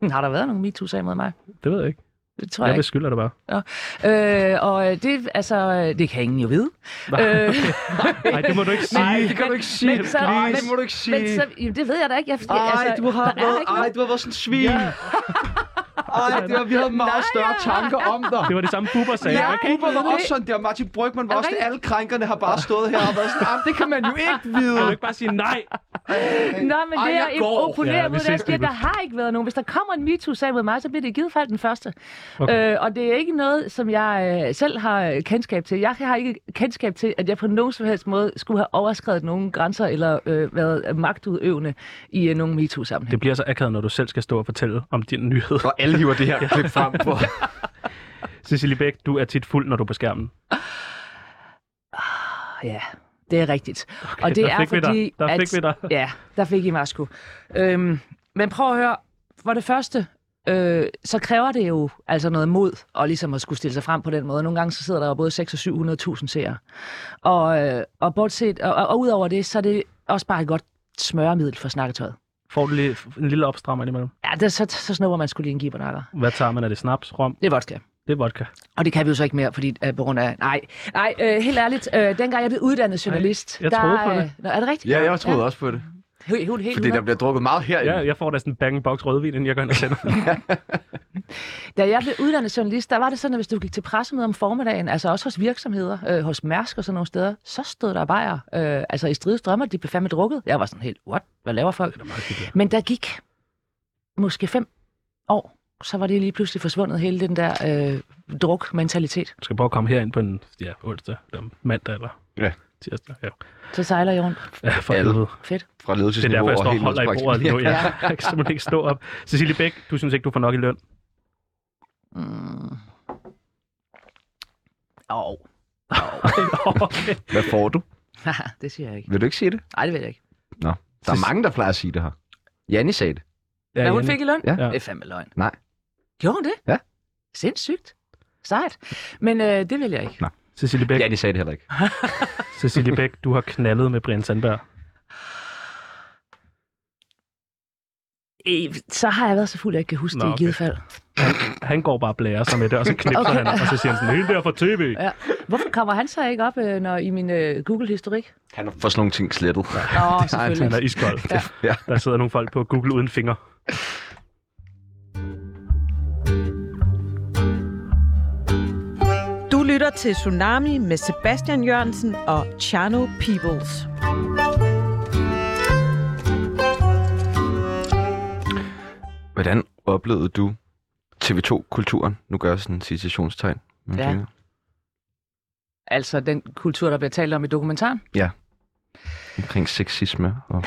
S3: Hm, Har der været nogle MeToo-sager mod mig?
S4: Det ved jeg ikke.
S3: Det tror
S4: Jeg
S3: jeg, ikke.
S4: beskylder dig bare.
S3: Øh, og øh, det, altså, øh, det kan ingen jo vide. Øh,
S4: Nej, det må du ikke sige.
S1: Nej, det kan
S3: men-
S1: du ikke sige.
S3: men så-
S1: Nej,
S3: men-
S1: det må du ikke sige.
S3: men så, jamen, det ved jeg da ikke. Jeg,
S1: Ej,
S3: altså,
S1: du har
S3: der er
S1: været,
S3: ikke
S1: ej,
S3: noget-
S1: du har været sådan en svin. Ej, det var, vi havde meget større tanker om dig.
S4: Det var det samme, Bubber sagde.
S1: Ja,
S4: Ja.
S1: Cooper var også sådan der. Martin Brygman var
S3: Er
S1: også
S3: det
S1: det. Alle krænkerne har bare stået her og været sådan, "Jamen, det kan man jo ikke
S4: Kan du
S1: vide.
S4: ikke bare sige nej?
S3: Nå,
S1: Ej,
S3: men det
S1: jeg
S3: er
S1: går.
S3: jeg
S4: Ja,
S3: oponerer
S4: vi
S3: ja, mod
S4: ses,
S3: det, at
S4: Bibel.
S3: der har ikke været nogen. Hvis der kommer en MeToo-sag mod mig, så bliver det i givet fald den første.
S4: Okay.
S3: Okay. Øh, og det er ikke noget, som jeg øh, selv har øh, kendskab til. Jeg har ikke kendskab til, at jeg på nogen som helst måde skulle have overskrevet nogen grænser eller øh, været magtudøvende i øh, nogen MeToo-sammenhæng.
S4: Det bliver så akavet, når du selv skal stå og fortælle om din nyhed.
S1: Og alle hiver det her klip frem på.
S4: Cecilie Bæk, du er tit fuld, når du er på skærmen.
S3: Ja, det er rigtigt. Okay, og det
S4: der
S3: er
S4: fik vi dig.
S3: fordi,
S4: Der
S3: at,
S4: fik vi dig.
S3: Ja, der fik I mig sgu. Øhm, men prøv at høre, for det første, øh, så kræver det jo altså noget mod, og ligesom at skulle stille sig frem på den måde. Nogle gange så sidder der jo både 6 og 700.000 seere. Og, øh, og bortset, og, og, og udover det, så er det også bare et godt smøremiddel for snakketøjet.
S4: Får du lige en lille opstrammer imellem?
S3: Ja, det, så, så snupper man skulle lige en gibernakker.
S4: Hvad tager man? Er det snaps, rom?
S3: Det er vodka.
S4: Det er vodka.
S3: Og det kan vi jo så ikke mere, fordi øh, på grund af... Nej, nej øh, helt ærligt, øh, dengang jeg blev uddannet journalist...
S4: jeg troede på
S3: øh,
S4: det.
S3: Nå, er det rigtigt?
S1: også på det.
S3: Helt, helt, helt
S1: Fordi der bliver drukket meget herinde.
S4: Ja, jeg får da sådan en bang box rødvin, inden jeg går ind og sender.
S3: Da jeg blev uddannet journalist, der var det sådan, at hvis du gik til pressemøder om formiddagen, altså også hos virksomheder, øh, hos Mærsk og sådan nogle steder, så stod der bajer, øh, altså i stride strømmer, de blev fandme drukket. Jeg var sådan helt, what? Hvad laver folk? Men der gik måske fem år, så var det lige pludselig forsvundet, hele den der øh, druk-mentalitet.
S4: Du skal bare komme herind på en ja, onsdag, eller mandag eller
S1: Ja.
S4: tirsdag. Ja,
S3: Så sejler jeg rundt.
S4: ja for
S1: Alle.
S4: helvede.
S3: Fedt.
S1: Fra
S4: Det er
S1: ledelsesniveau
S4: derfor, jeg
S1: og
S4: står og
S1: helt ned
S4: holder
S1: til
S4: i
S1: praktisk-
S4: bordet nu. Ja. Jeg kan simpelthen ikke stå op. Cecilie Bæk, du synes ikke, du får nok i løn.
S3: Mm. Oh.
S4: okay.
S1: Hvad får du?
S3: det siger jeg ikke.
S1: Vil du ikke sige det?
S3: Nej, det ved jeg ikke.
S1: Der er mange, der plejer at sige det her. Janni sagde det.
S4: Ja,
S3: Hvad hun
S4: Janne.
S3: fik i løn?
S1: Ja.
S3: Det er fandme løgn.
S1: Nej.
S3: Gjorde hun det?
S1: Ja.
S3: Sindssygt. Sejt. Men øh, det vil jeg ikke.
S4: Cecilie Bæk,
S1: Janni sagde det heller ikke.
S4: Cecilie Bæk, du har knaldet med Brian Sandberg.
S3: Øh, så har jeg været så fuld, at jeg ikke kan huske
S4: Nå,
S3: Nå, det i
S4: okay.
S3: givet fald.
S4: Han, han går bare og blærer sig med det, og så knipser okay.
S3: Okay.
S4: han, og så siger han sådan, hende der fra tv.
S3: Ja. Hvorfor kommer han så ikke op øh, når, i min øh, Google-historik?
S1: Han har fået sådan nogle ting slettet.
S3: Åh,
S4: Han
S3: selvfølgelig.
S4: er iskold.
S3: Ja.
S1: Ja.
S4: Der sidder nogle folk på Google uden fingre.
S5: Du lytter til Tsunami med Sebastian Jørgensen og Chano Peoples.
S1: Hvordan oplevede du TV2-kulturen? Nu gør jeg sådan en citationstegn. med mine
S3: Ja.
S1: fingre.
S3: Altså den kultur, der bliver talt om i dokumentaren.
S1: Omkring sexisme. Og...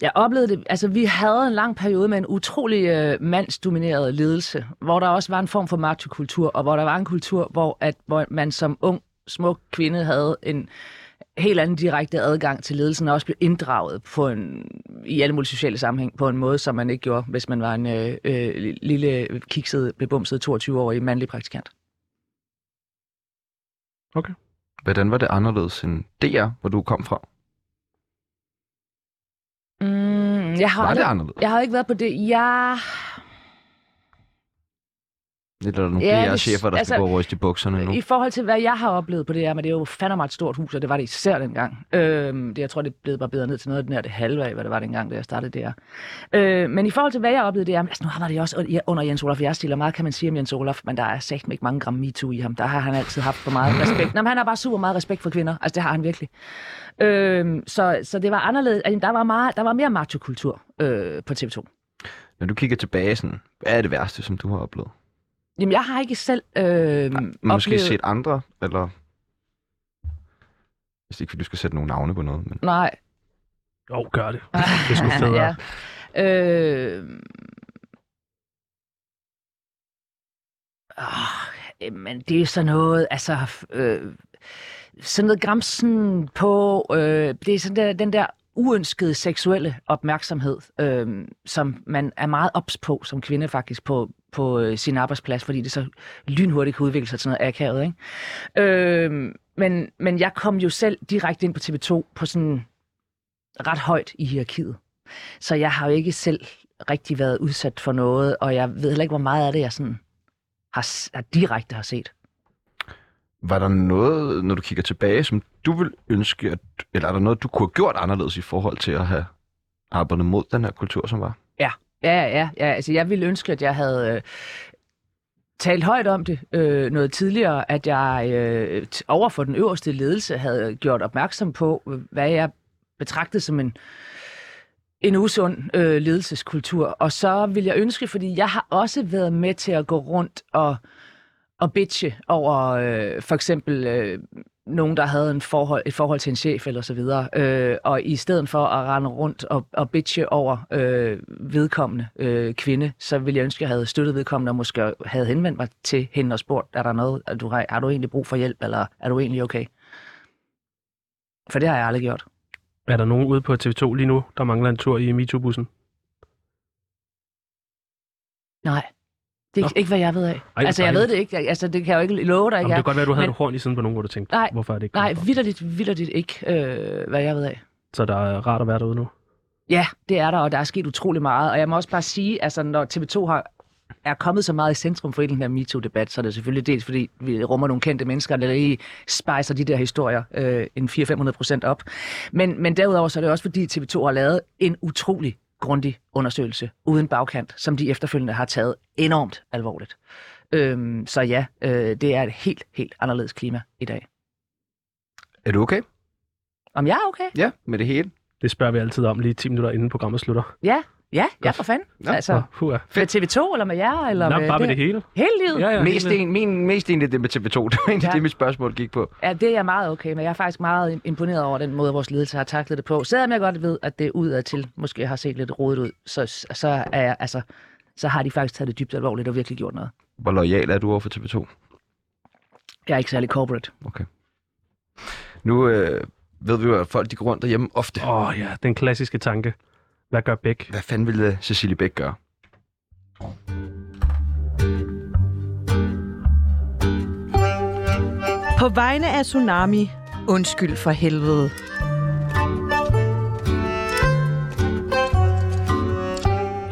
S3: Jeg oplevede det, altså vi havde en lang periode med en utrolig øh, mandsdomineret ledelse, hvor der også var en form for machokultur, og hvor der var en kultur, hvor, at, hvor man som ung, smuk kvinde havde en helt anden direkte adgang til ledelsen, og også blev inddraget på en, i alle mulige sociale sammenhæng på en måde, som man ikke gjorde, hvis man var en øh, øh, lille, kikset, bebumset 22-årig mandlig praktikant.
S1: Hvordan var det anderledes end DR, hvor du kom fra?
S3: Mm, jeg har
S1: Var det
S3: aldrig,
S1: anderledes?
S3: jeg har ikke været på det. Jeg
S1: Eller er der nogle
S3: Ja,
S1: ja,
S3: det-
S1: DR-chefer, der altså, skal
S3: altså-
S1: gå og ryste i bukserne nu?
S3: I forhold til, hvad jeg har oplevet på det her, men det er jo fandme et stort hus, og det var det især dengang. Øhm, det, jeg tror, det blev bare bedre ned til noget af den her det halve af, hvad det var dengang, da jeg startede der. Øh, men i forhold til, hvad jeg oplevede, det er, altså, nu har man det jo også under Jens Olaf Jerstiller. Meget kan man sige om Jens Olaf, men der er sagt ikke mange gram MeToo i ham. Der har han altid haft for meget respekt. Nå, men han har bare super meget respekt for kvinder. Altså, det har han virkelig. Øh, så, så det var anderledes. Altså, der, var meget, der var mere machokultur øh, på TV2.
S1: Når du kigger tilbage, sådan, hvad er det værste, som du har oplevet?
S3: Jamen, jeg har ikke selv øh,
S1: Måske
S3: oplevet...
S1: set andre, eller... Hvis ikke, fordi du skal sætte nogle navne på noget, men...
S3: Nej,
S4: Jo, gør det. Det er sgu federe.
S3: Ah, Ja. Øh... Oh, men det er sådan noget, altså... Øh, sådan noget gramsen på... Øh, det er sådan der, den der uønskede seksuelle opmærksomhed, øh, som man er meget ops på som kvinde faktisk på, på øh, sin arbejdsplads, fordi det så lynhurtigt kan udvikle sig til noget akavet. Ikke? Øh, men, men jeg kom jo selv direkte ind på TV2 på sådan ret højt i hierarkiet. Så jeg har jo ikke selv rigtig været udsat for noget, og jeg ved heller ikke, hvor meget af det, jeg sådan har, s- har direkte har set.
S1: Var der noget, når du kigger tilbage, som du vil ønske, at, eller er der noget, du kunne have gjort anderledes i forhold til at have arbejdet mod den her kultur, som var?
S3: Ja, ja, ja, ja. Altså, jeg ville ønske, at jeg havde øh, talt højt om det øh, noget tidligere, at jeg øh, t- over for den øverste ledelse havde gjort opmærksom på, øh, hvad jeg betragtede som en en usund øh, ledelseskultur. Og så vil jeg ønske, fordi jeg har også været med til at gå rundt og, og bitche over øh, for eksempel øh, nogen, der havde en forhold, et forhold til en chef eller så videre. Øh, og i stedet for at rende rundt og, og bitche over øh, vedkommende øh, kvinde, så ville jeg ønske, at jeg havde støttet vedkommende og måske havde henvendt mig til hende og spurgt, er der noget, er du, har, har du egentlig brug for hjælp, eller er du egentlig okay? For det har jeg aldrig gjort.
S4: Er der nogen ude på TV2 lige nu, der mangler en tur i MeToo-bussen?
S3: Nej. Det er
S4: Nå.
S3: ikke, ikke, hvad jeg ved af.
S4: hvor
S3: Ej, altså, jeg
S4: dejligt.
S3: ved det ikke. Jeg, altså, det kan jeg jo ikke love dig.
S4: Jamen, det
S3: Jeg,
S4: kan godt være, at du havde
S3: men-
S4: men... horn i siden på nogen, hvor du tænkte,
S3: Nej,
S4: hvorfor er det ikke
S3: nej,
S4: kommet frem?
S3: vidderligt, vidderligt ikke, øh, hvad jeg ved af.
S4: Så der er rart at være derude nu.
S3: Ja, det er der, og der er sket utrolig meget. Og jeg må også bare sige, altså, når TV2 har er kommet så meget i centrum for hele den her MeToo-debat, så er det selvfølgelig dels, fordi vi rummer nogle kendte mennesker, der lige spejser de der historier øh, en 400-500 procent op. Men, men derudover så er det også, fordi TV2 har lavet en utrolig grundig undersøgelse uden bagkant, som de efterfølgende har taget enormt alvorligt. Øhm, så ja, øh, det er et helt, helt anderledes klima i dag.
S1: Er du okay?
S3: Om jeg er okay?
S1: Ja, med det hele.
S4: Det spørger vi altid om lige 10 minutter inden programmet slutter.
S3: Ja, ja, ja
S4: Godt.
S3: for fanden.
S1: Nå,
S3: altså,
S4: Puh, ja.
S3: med TV2 eller med jer? Eller
S4: Nå,
S3: med
S4: bare med
S3: her?
S4: det hele.
S3: Hele livet?
S4: Ja, ja,
S1: Mest
S4: hele-
S1: en, min, mest egentlig det med TV2. Det var egentlig
S3: Ja.
S1: det, mit spørgsmål gik på.
S3: Ja, det er jeg meget okay med. Jeg er faktisk meget imponeret over den måde, vores ledelse har taklet det på. Selvom jeg godt ved, at det udad til måske har set lidt rodet ud, så, så, er jeg, altså, så har de faktisk taget det dybt alvorligt og virkelig gjort noget.
S1: Hvor lojal er du over for TV2?
S3: Jeg er ikke særlig corporate.
S1: Nu øh, ved vi jo, at folk de går rundt derhjemme ofte.
S4: Åh oh, ja, den klassiske tanke. Hvad gør Bæk?
S1: Hvad fanden ville øh, Cecilie Bæk gøre?
S5: På vegne af Tsunami, undskyld for helvede.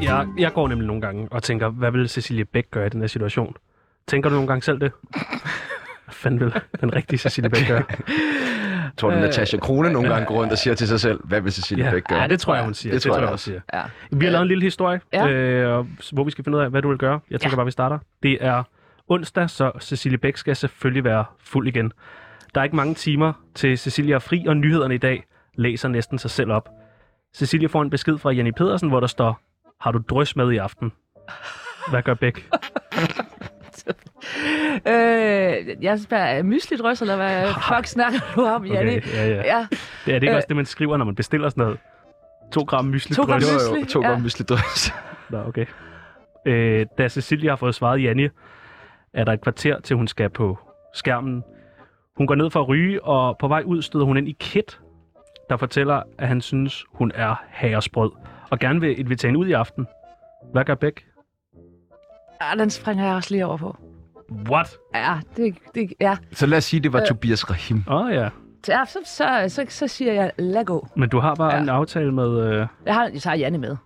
S4: Jeg jeg, jeg går nemlig nogle gange og tænker, hvad vil Cecilie Bæk gøre i den her situation? Tænker du nogle gange selv det? Hvad fanden vil den rigtige Cecilie Bæk gøre?
S1: Jeg tror, det er
S3: Øh,
S1: Natasha Krone nogle gange går rundt og siger til sig selv, hvad vil Cecilie Bæk gøre?
S4: ja, det tror jeg, hun siger.
S1: Det tror jeg
S4: hun
S1: også.
S4: siger.
S3: Ja.
S4: Vi har lavet en lille historie,
S3: Ja.
S4: ja. øh, og s- hvor vi skal finde ud af, hvad du vil gøre. Jeg tænker ja. bare, vi starter. Det er onsdag, så Cecilie Bæk skal selvfølgelig være fuld igen. Der er ikke mange timer til Cecilie er fri, og nyhederne i dag læser næsten sig selv op. Cecilie får en besked fra Jenny Pedersen, hvor der står, har du drøs med i aften? Hvad gør Bæk?
S3: Øh, jeg spørger, er mysligt røst, eller hvad fuck snakker du om, Janne?
S4: Okay, ja, ja.
S3: Ja,
S4: Det er det ikke
S3: Øh.
S4: øh, også det, man skriver, når man bestiller sådan noget? To gram mysli
S3: To gram
S4: drys.
S3: mysli.
S1: Jo, jo, to
S3: Ja.
S1: gange mysli drøs.
S4: Nå, okay. Øh, da Cecilia har fået svaret Janne, er der et kvarter, til hun skal på skærmen. Hun går ned for at ryge, og på vej ud støder hun ind i Kit, der fortæller, at han synes, hun er herresprød, og gerne vil invitere hende ud i aften. Hvad gør Bæk?
S3: ah, den springer jeg også lige over på.
S4: What?
S3: Ja, det, det, ja.
S1: Så lad os sige, det var
S3: Øh.
S1: Tobias Rahim.
S4: Åh oh, ja,
S3: Så, så, så, så, så siger jeg, lad gå.
S4: men du har bare
S3: Ja.
S4: ja. en aftale med... Øh...
S3: Jeg, har, jeg tager Janne med.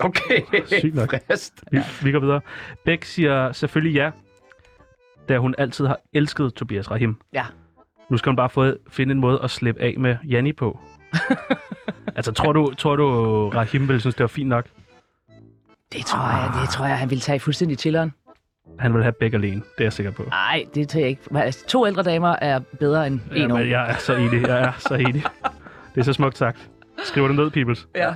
S1: Okay,
S4: Sygt nok.
S1: frist.
S4: Vi, vi går videre. Bæk siger selvfølgelig ja, da hun altid har elsket Tobias Rahim.
S3: Ja.
S4: Nu skal hun bare få, finde en måde at slippe af med Janni på. altså, tror du, tror du Rahim ville synes, det var fint nok?
S3: Det tror jeg, det tror jeg, han ville tage fuldstændig chilleren.
S4: Han vil have Bæk alene, det er jeg sikker på.
S3: Nej, det tager jeg ikke. Men Altså, to ældre damer er bedre end en
S4: Jamen,
S3: ung.
S4: jeg er så enig, jeg er så enig. Det er så smukt sagt. Skriver det ned, peoples.
S3: Ja.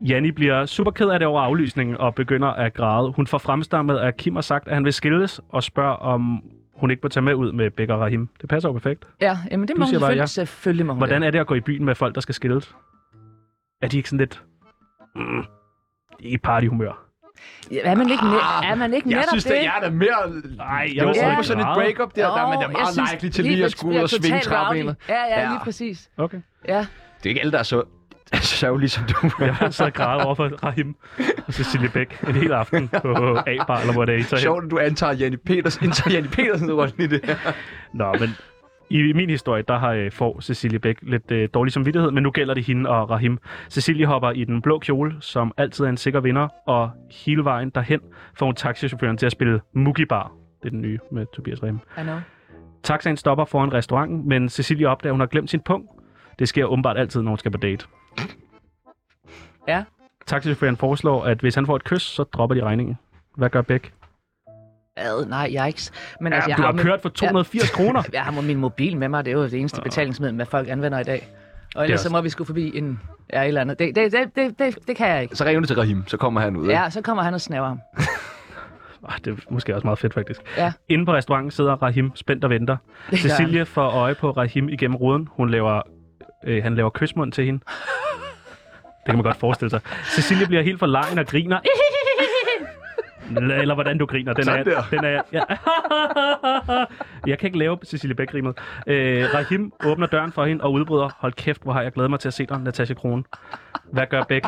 S4: Janni bliver super ked af det over aflysningen og begynder at græde. Hun får fremstammet, at Kim har sagt, at han vil skilles og spørger, om hun ikke må tage med ud med Bæk og Rahim. Det passer jo perfekt.
S3: Ja, jamen det
S4: Du
S3: må hun
S4: siger bare
S3: selvfølgelig,
S4: ja.
S3: selvfølgelig må hun
S4: Hvordan
S3: det.
S4: er det at gå i byen med folk, der skal skilles? Er de ikke sådan lidt... Mm, i partyhumør?
S3: Er man ikke, net, er man ikke
S1: Jeg
S3: netop
S1: synes,
S3: Ah, det?
S1: at jeg er da mere...
S4: Nej, jeg
S1: Jo,
S4: vil
S1: ikke
S4: ikke
S1: på sådan et
S4: meget.
S1: breakup der,
S3: Nå,
S1: der er man da
S3: jeg
S1: meget
S3: synes,
S1: likely til lige at
S3: lidt
S1: skulle ud og
S3: bliver
S1: svinge
S3: totalt
S1: træppenet.
S3: rowdy. Ja, ja,
S1: Ja.
S3: lige præcis.
S4: Okay.
S3: Ja.
S1: Det er ikke alle, der er så sørgelige som du.
S4: Jeg har så grædet over for Rahim og Cecilie Bæk en hel aften på A-bar, eller hvor det er, I tager hen.
S1: Sjovt, at du antager Janne Petersen, indtager Janne Petersen rundt i det her.
S4: Nå, men i min historie, der har øh, får Cecilie Bæk lidt øh, dårlig samvittighed, men nu gælder det hende og Rahim. Cecilie hopper i den blå kjole, som altid er en sikker vinder, og hele vejen derhen får hun taxichaufføren til at spille Mookie Bar. Det er den nye med Tobias Rahim.
S3: I know.
S4: Taxaen stopper foran restauranten, men Cecilie opdager, at hun har glemt sin pung. Det sker åbenbart altid, når hun skal på date.
S3: Ja.
S4: Taxichaufføren foreslår, at hvis han får et kys, så dropper de regningen. Hvad gør Bæk?
S3: Ad, nej, jeg er ikke... s- Men altså,
S4: Ja,
S3: jeg
S4: du har
S3: min-
S4: kørt for 280 ja. kroner.
S3: Jeg har mo- min mobil med mig, det er jo det eneste betalingsmiddel, hvad folk anvender i dag. Og ellers
S4: også-
S3: så må vi skulle forbi en... Ja, et eller andet. Det, det, det, det, det, det kan jeg ikke.
S1: Så ringer du til Rahim, så kommer han ud. ikke?
S3: Ja, så kommer han og snæver ham.
S4: Ah, det er måske også meget fedt, faktisk.
S3: Ja.
S4: Inde på restauranten sidder Rahim spændt og venter.
S3: Det gør han.
S4: Cecilie får øje på Rahim igennem ruden. Hun laver, øh, han laver kysmund til hende. Det kan man godt forestille sig. Cecilie bliver helt forlegen og griner. Eller eller hvordan du griner. Den er,
S1: Sådan der.
S4: den er, ja. Jeg kan ikke lave Cecilie bæk øh, Rahim åbner døren for hende og udbryder. Hold kæft, hvor har jeg glædet mig til at se dig, Natasha Kronen. Hvad gør Bæk?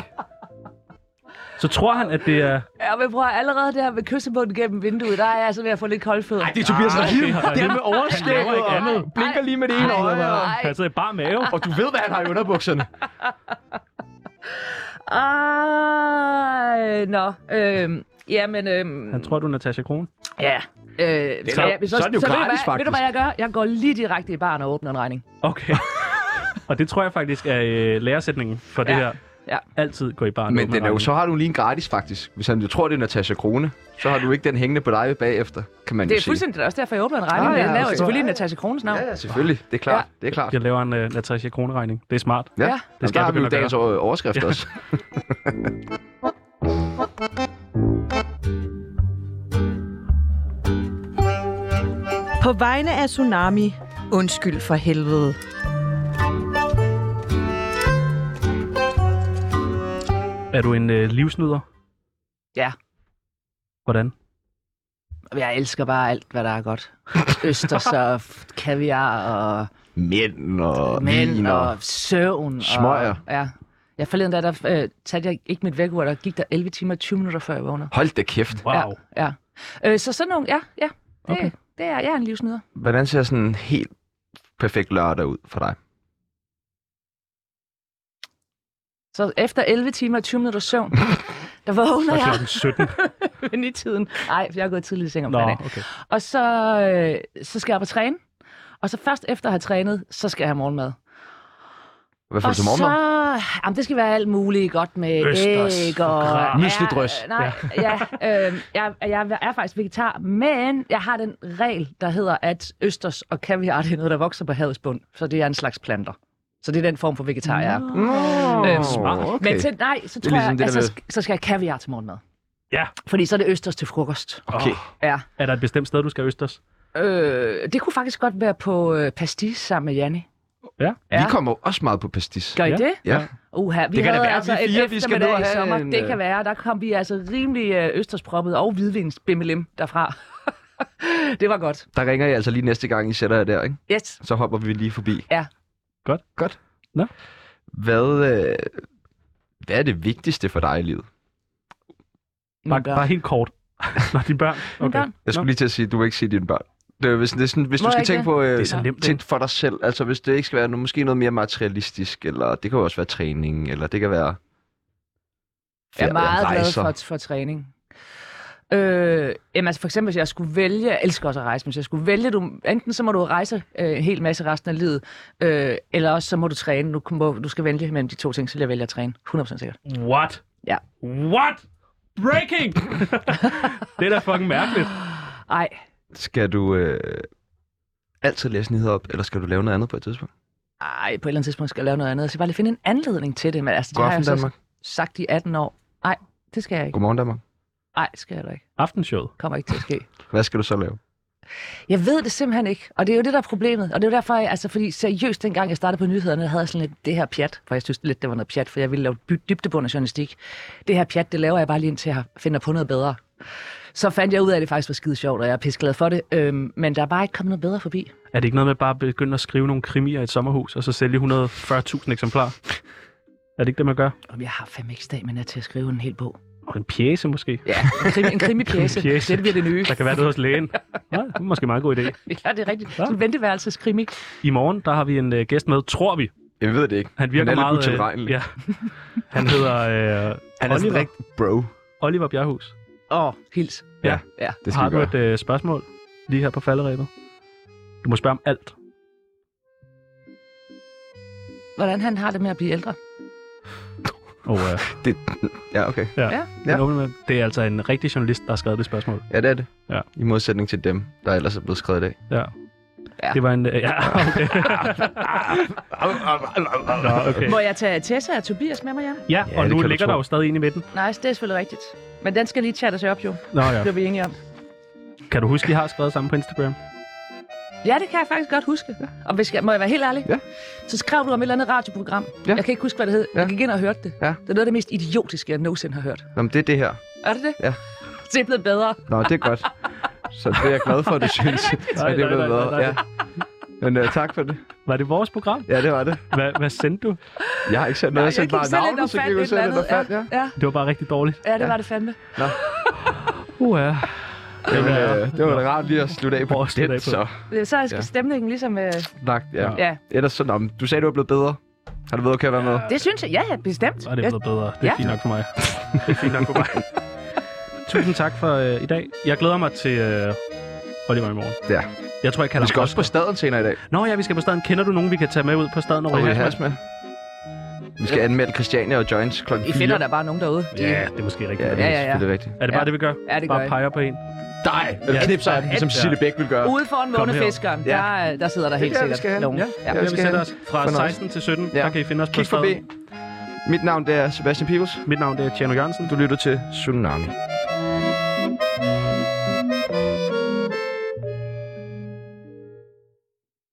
S4: Så tror han, at det er...
S3: Ja, men prøv at høre, allerede der med kyssebunden gennem vinduet, der er jeg altså ved at få lidt kolde fødder.
S1: Ej, det er Tobias Rahim.
S4: Rahim.
S1: Det er med overskæg
S4: Han laver ikke andet.
S1: og blinker lige med det ene øje. og-
S3: Ej.
S4: Han sidder i bare mave.
S1: Og du ved, hvad han har i underbukserne.
S3: Ej, nå. Øhm, jamen, øhm,
S4: Han tror, du er Natasha Kron.
S3: ja. Øh,
S1: er jo- så er det jo
S3: ved du
S1: gratis,
S3: hvad, Ved du, hvad
S1: faktisk.
S3: jeg gør? Jeg går lige direkte i baren og åbner en regning.
S4: Okay. og det tror jeg faktisk er øh, læresætningen for det
S3: Ja.
S4: her.
S3: Ja.
S4: Altid gå i barn.
S1: Men den er jo, så har du lige en gratis, faktisk. Hvis han jo tror, det er Natasha Krone, så har du ikke den hængende på dig bagefter, kan man
S3: Det
S1: jo
S3: er
S1: sige.
S3: fuldstændig også derfor, jeg åbner en regning.
S1: Ah,
S3: Ah,
S1: ja,
S3: ja, jeg laver
S1: okay.
S3: selvfølgelig Natasha Krones navn.
S1: Ja, ja, selvfølgelig. Det er klart. Det er klart.
S4: Jeg laver en øh, Natasha Kron-regning. Det er smart.
S1: Ja,
S3: Ja.
S1: ja.
S4: Det
S1: det
S4: skal
S1: skal der
S4: jeg
S1: har vi jo
S4: begynde at
S1: dagens over- overskrift
S4: Ja.
S1: også.
S5: På vegne af Tsunami, undskyld for helvede.
S4: Er du en øh, livsnyder?
S3: Ja.
S4: Hvordan?
S3: Jeg elsker bare alt, hvad der er godt. Østers og f- kaviar og
S1: Mænd og
S3: mænd
S1: vin
S3: og søvn.
S1: Smøger.
S3: Og, ja. Jeg forleden dag, der øh, satte jeg ikke mit vækkeur, der gik der 11 timer og 20 minutter, før jeg vågnede.
S1: Hold da kæft.
S4: Wow.
S3: Ja. Øh, så sådan nogle, ja, ja. Det,
S4: Okay.
S3: okay. det er, jeg er en livsnyder.
S1: Hvordan ser sådan en helt perfekt lørdag ud for dig?
S3: Så efter 11 timer og 20 minutter søvn, Der vågner
S4: Og
S3: jeg
S4: klokken 17.
S3: men i tiden. Nej, for jeg er gået tidligt i seng om
S4: Nå,
S3: fredagen.
S4: okay.
S3: Og så, øh, så skal jeg op og træne. Og så først efter at have trænet, så skal jeg have morgenmad.
S1: Hvad får
S3: Og
S1: du til morgenmad?
S3: så... Jamen, det skal være alt muligt godt med
S4: Østers,
S3: æg og...
S4: grad.
S1: Müslidrys.
S3: Ja, øh, Nej, ja. ja øh, jeg, jeg er faktisk vegetar, men jeg har den regel, der hedder, at østers og kaviar, det er noget, der vokser på havets bund. Så det er en slags planter. Så det er den form for vegetar, jeg er.
S1: Nå,
S3: Øhm, smart.
S1: okay.
S3: Men til, nej, så
S1: Det er
S3: tror ligesom
S1: ligesom
S3: jeg,
S1: det,
S3: at
S1: der
S3: så, så skal jeg have kaviar til morgenmad.
S4: Ja.
S3: Fordi så er det østers til frokost. Oh.
S1: Okay.
S3: Ja.
S4: Er der et bestemt sted, du skal østers?
S3: Øh, det kunne faktisk godt være på øh, pastis sammen med Janni.
S1: Vi
S3: Ja.
S1: kommer jo også meget på pastis.
S3: Gør I
S4: Ja.
S3: det?
S1: Ja.
S3: Uha, vi
S1: Det kan da
S3: havde
S1: være,
S3: altså
S1: vi
S3: et
S1: fire, vi skal nå at
S3: eftermiddag i
S1: have
S3: sommer.
S1: en,
S3: det
S1: øh,
S3: kan være. Der kom vi altså rimelig øh, østersproppet og hvidvinsbimmelim derfra. det var godt.
S1: Der ringer jeg altså lige næste gang, I sætter jer der, ikke?
S3: Yes.
S1: Så hopper vi lige forbi.
S3: Ja.
S4: Godt.
S1: Godt.
S4: Nå.
S1: Hvad, øh, hvad er det vigtigste for dig i livet?
S4: Bare,
S3: Mine børn.
S4: bare helt kort. Nå, dine børn.
S3: Mine
S4: Okay.
S3: børn.
S1: Jeg skulle
S4: Nå.
S1: lige til at sige, at du må ikke sige dine børn. Det er, hvis, det er sådan, hvis
S3: Må
S1: du
S3: jeg
S1: skal tænke
S3: ikke
S1: på øh,
S4: er så nemt,
S1: tænk
S4: ikke?
S1: for dig selv, altså hvis det ikke skal være noget, måske noget mere materialistisk, eller det kan jo også være træning, eller det kan være
S3: Jeg er
S1: ferie,
S3: meget glad
S1: rejser.
S3: for, for træning. Øh, jamen altså for eksempel, hvis jeg skulle vælge, jeg elsker også at rejse, men hvis jeg skulle vælge, du, enten så må du rejse øh, en hel masse resten af livet, øh, eller også så må du træne. Du, må, du skal vælge mellem de to ting, så vil jeg vælge at træne. 100% sikkert.
S4: What?
S3: Ja.
S4: What? Breaking! det er da fucking mærkeligt.
S3: Ej,
S1: Skal du øh, altid læse nyheder op, eller skal du lave noget andet på et tidspunkt?
S3: ej, på et eller andet tidspunkt skal jeg lave noget andet. Jeg skal bare lige finde en anledning til det, men altså, det har
S1: Godaften
S3: jeg så
S1: Danmark.
S3: sagt i 18 år. Nej, det skal jeg ikke.
S1: Godmorgen Danmark.
S3: Nej, det skal jeg da ikke.
S4: Aftenshowet.
S3: Kommer ikke til at ske.
S1: Hvad skal du så lave?
S3: Jeg ved det simpelthen ikke, og det er jo det, der er problemet. Og det er jo derfor, jeg, altså, fordi seriøst, dengang jeg startede på nyhederne, der havde jeg sådan lidt det her pjat, for jeg synes lidt, det var noget pjat, for jeg ville lave dy- dybdebund af journalistik. Det her pjat, det laver jeg bare lige indtil jeg finder på noget bedre. Så fandt jeg ud af, at det faktisk var skide sjovt, og jeg er pisseglad for det, øhm, men der er bare ikke kommet noget bedre forbi.
S4: Er det ikke noget med bare at begynde at skrive nogle krimier i et sommerhus, og så sælge 140.000 eksemplarer? Er det ikke det, man gør?
S3: Om jeg har fandme ikke stamina til at skrive en hel bog.
S4: Og en pjæse måske?
S3: Ja, en, krimi, en krimipjæse.
S4: Krimipjæse.
S3: det bliver det nye.
S4: Der kan være det hos lægen. Nej, det er måske en meget god idé.
S3: Ja, det er rigtigt. Sådan en venteværelseskrimi.
S4: I morgen, der har vi en uh, gæst med, tror vi.
S1: Jeg ved det ikke.
S4: Han virker
S1: Han er lidt
S4: meget... øh,
S1: utilregnelig.
S4: ja. Han hedder uh,
S1: Han er sådan
S4: Oliver,
S1: rigtig bro.
S4: Oliver Bjerghus.
S3: Åh, hils.
S1: Det skal
S4: Har
S1: vi
S4: du
S1: gøre.
S4: et uh, spørgsmål lige her på falderæbet? Du må spørge om alt.
S3: Hvordan han har det med at blive ældre.
S4: Og uh,
S1: Ja, okay.
S4: ja. med, det er altså en rigtig journalist, der har skrevet det spørgsmål.
S1: Ja, det er det.
S4: Ja.
S1: I modsætning til dem, der ellers er blevet skrevet i dag.
S4: Ja.
S3: Ja.
S4: Det var en... Uh, ja, okay. Nå, okay.
S3: Må jeg tage Tessa og Tobias med mig hjem?
S4: Ja,
S1: Ja,
S4: og
S1: det
S4: nu
S1: kan du
S4: ligger
S1: tro.
S4: der jo stadig en i midten.
S3: Nej, nice, det er selvfølgelig rigtigt. Men den skal lige chattes op, jo.
S4: Nå ja.
S3: Det er vi enige om.
S4: Kan du huske, I har skrevet sammen på Instagram?
S3: Ja, det kan jeg faktisk godt huske. Og hvis jeg, må jeg være helt ærlig?
S1: Ja.
S3: Så skrev du om et eller andet radioprogram.
S1: Ja.
S3: Jeg kan ikke huske, hvad det hed.
S1: Ja.
S3: Jeg gik ind og hørte det.
S1: Ja.
S3: Det er noget af det mest idiotiske, jeg nogensinde har hørt.
S1: Nå, men det er det her.
S3: Er det det?
S1: Ja.
S3: Det er blevet bedre.
S1: Nå, det er godt. Så det er jeg glad for, du synes.
S4: Nej,
S1: Og det er
S4: nej,
S1: blevet
S4: nej, nej,
S1: bedre,
S4: nej.
S1: Ja. Men uh, tak for det.
S4: Var det vores program?
S1: Ja, det var det.
S4: Hvad, hvad sendte du?
S1: Jeg har ikke sendt noget. Jeg sendte bare navnet, så gik
S3: et
S1: jeg selv ind og fandt,
S3: ja.
S1: ja.
S3: Ja.
S4: Det var bare rigtig dårligt.
S3: ja, det var det fandme.
S4: Uh, ja.
S1: Jamen,
S4: Ja.
S1: øh, det var da rart lige at slutte af
S4: Prøv
S1: på
S4: at slutte
S1: den,
S4: af på
S1: så.
S3: Øh, Så skal
S1: Ja.
S3: stemningen ligesom... Øh,
S1: Lagt, ja.
S4: Ja.
S3: ja.
S1: Ellers så, nå, men du sagde, du var blevet bedre. Har du været okay at være med?
S3: Det synes jeg, ja, ja bestemt.
S4: Så er det blevet bedre. Det er
S3: Ja.
S4: fint nok for mig. Det er fint nok for mig. Tusind tak for øh, i dag. Jeg glæder mig til øh, Oliver i morgen.
S1: Ja.
S4: Jeg tror, jeg kalder
S1: Vi skal
S4: ham
S1: også på staden senere i dag.
S4: Nå ja, vi skal på staden. Kender du nogen, vi kan tage med ud på staden og
S1: Og
S4: ryge
S1: vi
S4: hash med?
S1: has med. Vi skal anmelde Christiania og Joints kl. 4.
S3: I finder der bare nogen derude.
S4: Ja, det er måske rigtigt.
S1: Ja, det
S3: Ja,
S1: er
S3: ja, ja.
S1: selvfølgelig rigtigt.
S4: Er det bare
S3: Ja.
S4: det, vi gør?
S3: Ja, det gør
S4: bare
S3: jeg.
S4: peger på en?
S1: Dig! Eller
S4: Ja.
S1: knipser af den, ligesom Cecilie Bæk ville gøre.
S3: Ude foran månefiskeren,
S1: Ja.
S3: der, der sidder der helt
S1: der, vi skal
S3: sikkert
S1: hen.
S3: nogen.
S1: Ja.
S4: Ja, vi
S1: skal
S4: sætter
S1: hen.
S4: os fra
S1: Fornøjelse.
S4: 16 til 17.
S1: Ja.
S4: Der kan I finde os på
S1: Kig forbi.
S4: staden.
S1: Mit navn det er Sebastian Pibels.
S4: Mit navn det er Tjerno Jørgensen.
S1: Du lytter til Tsunami.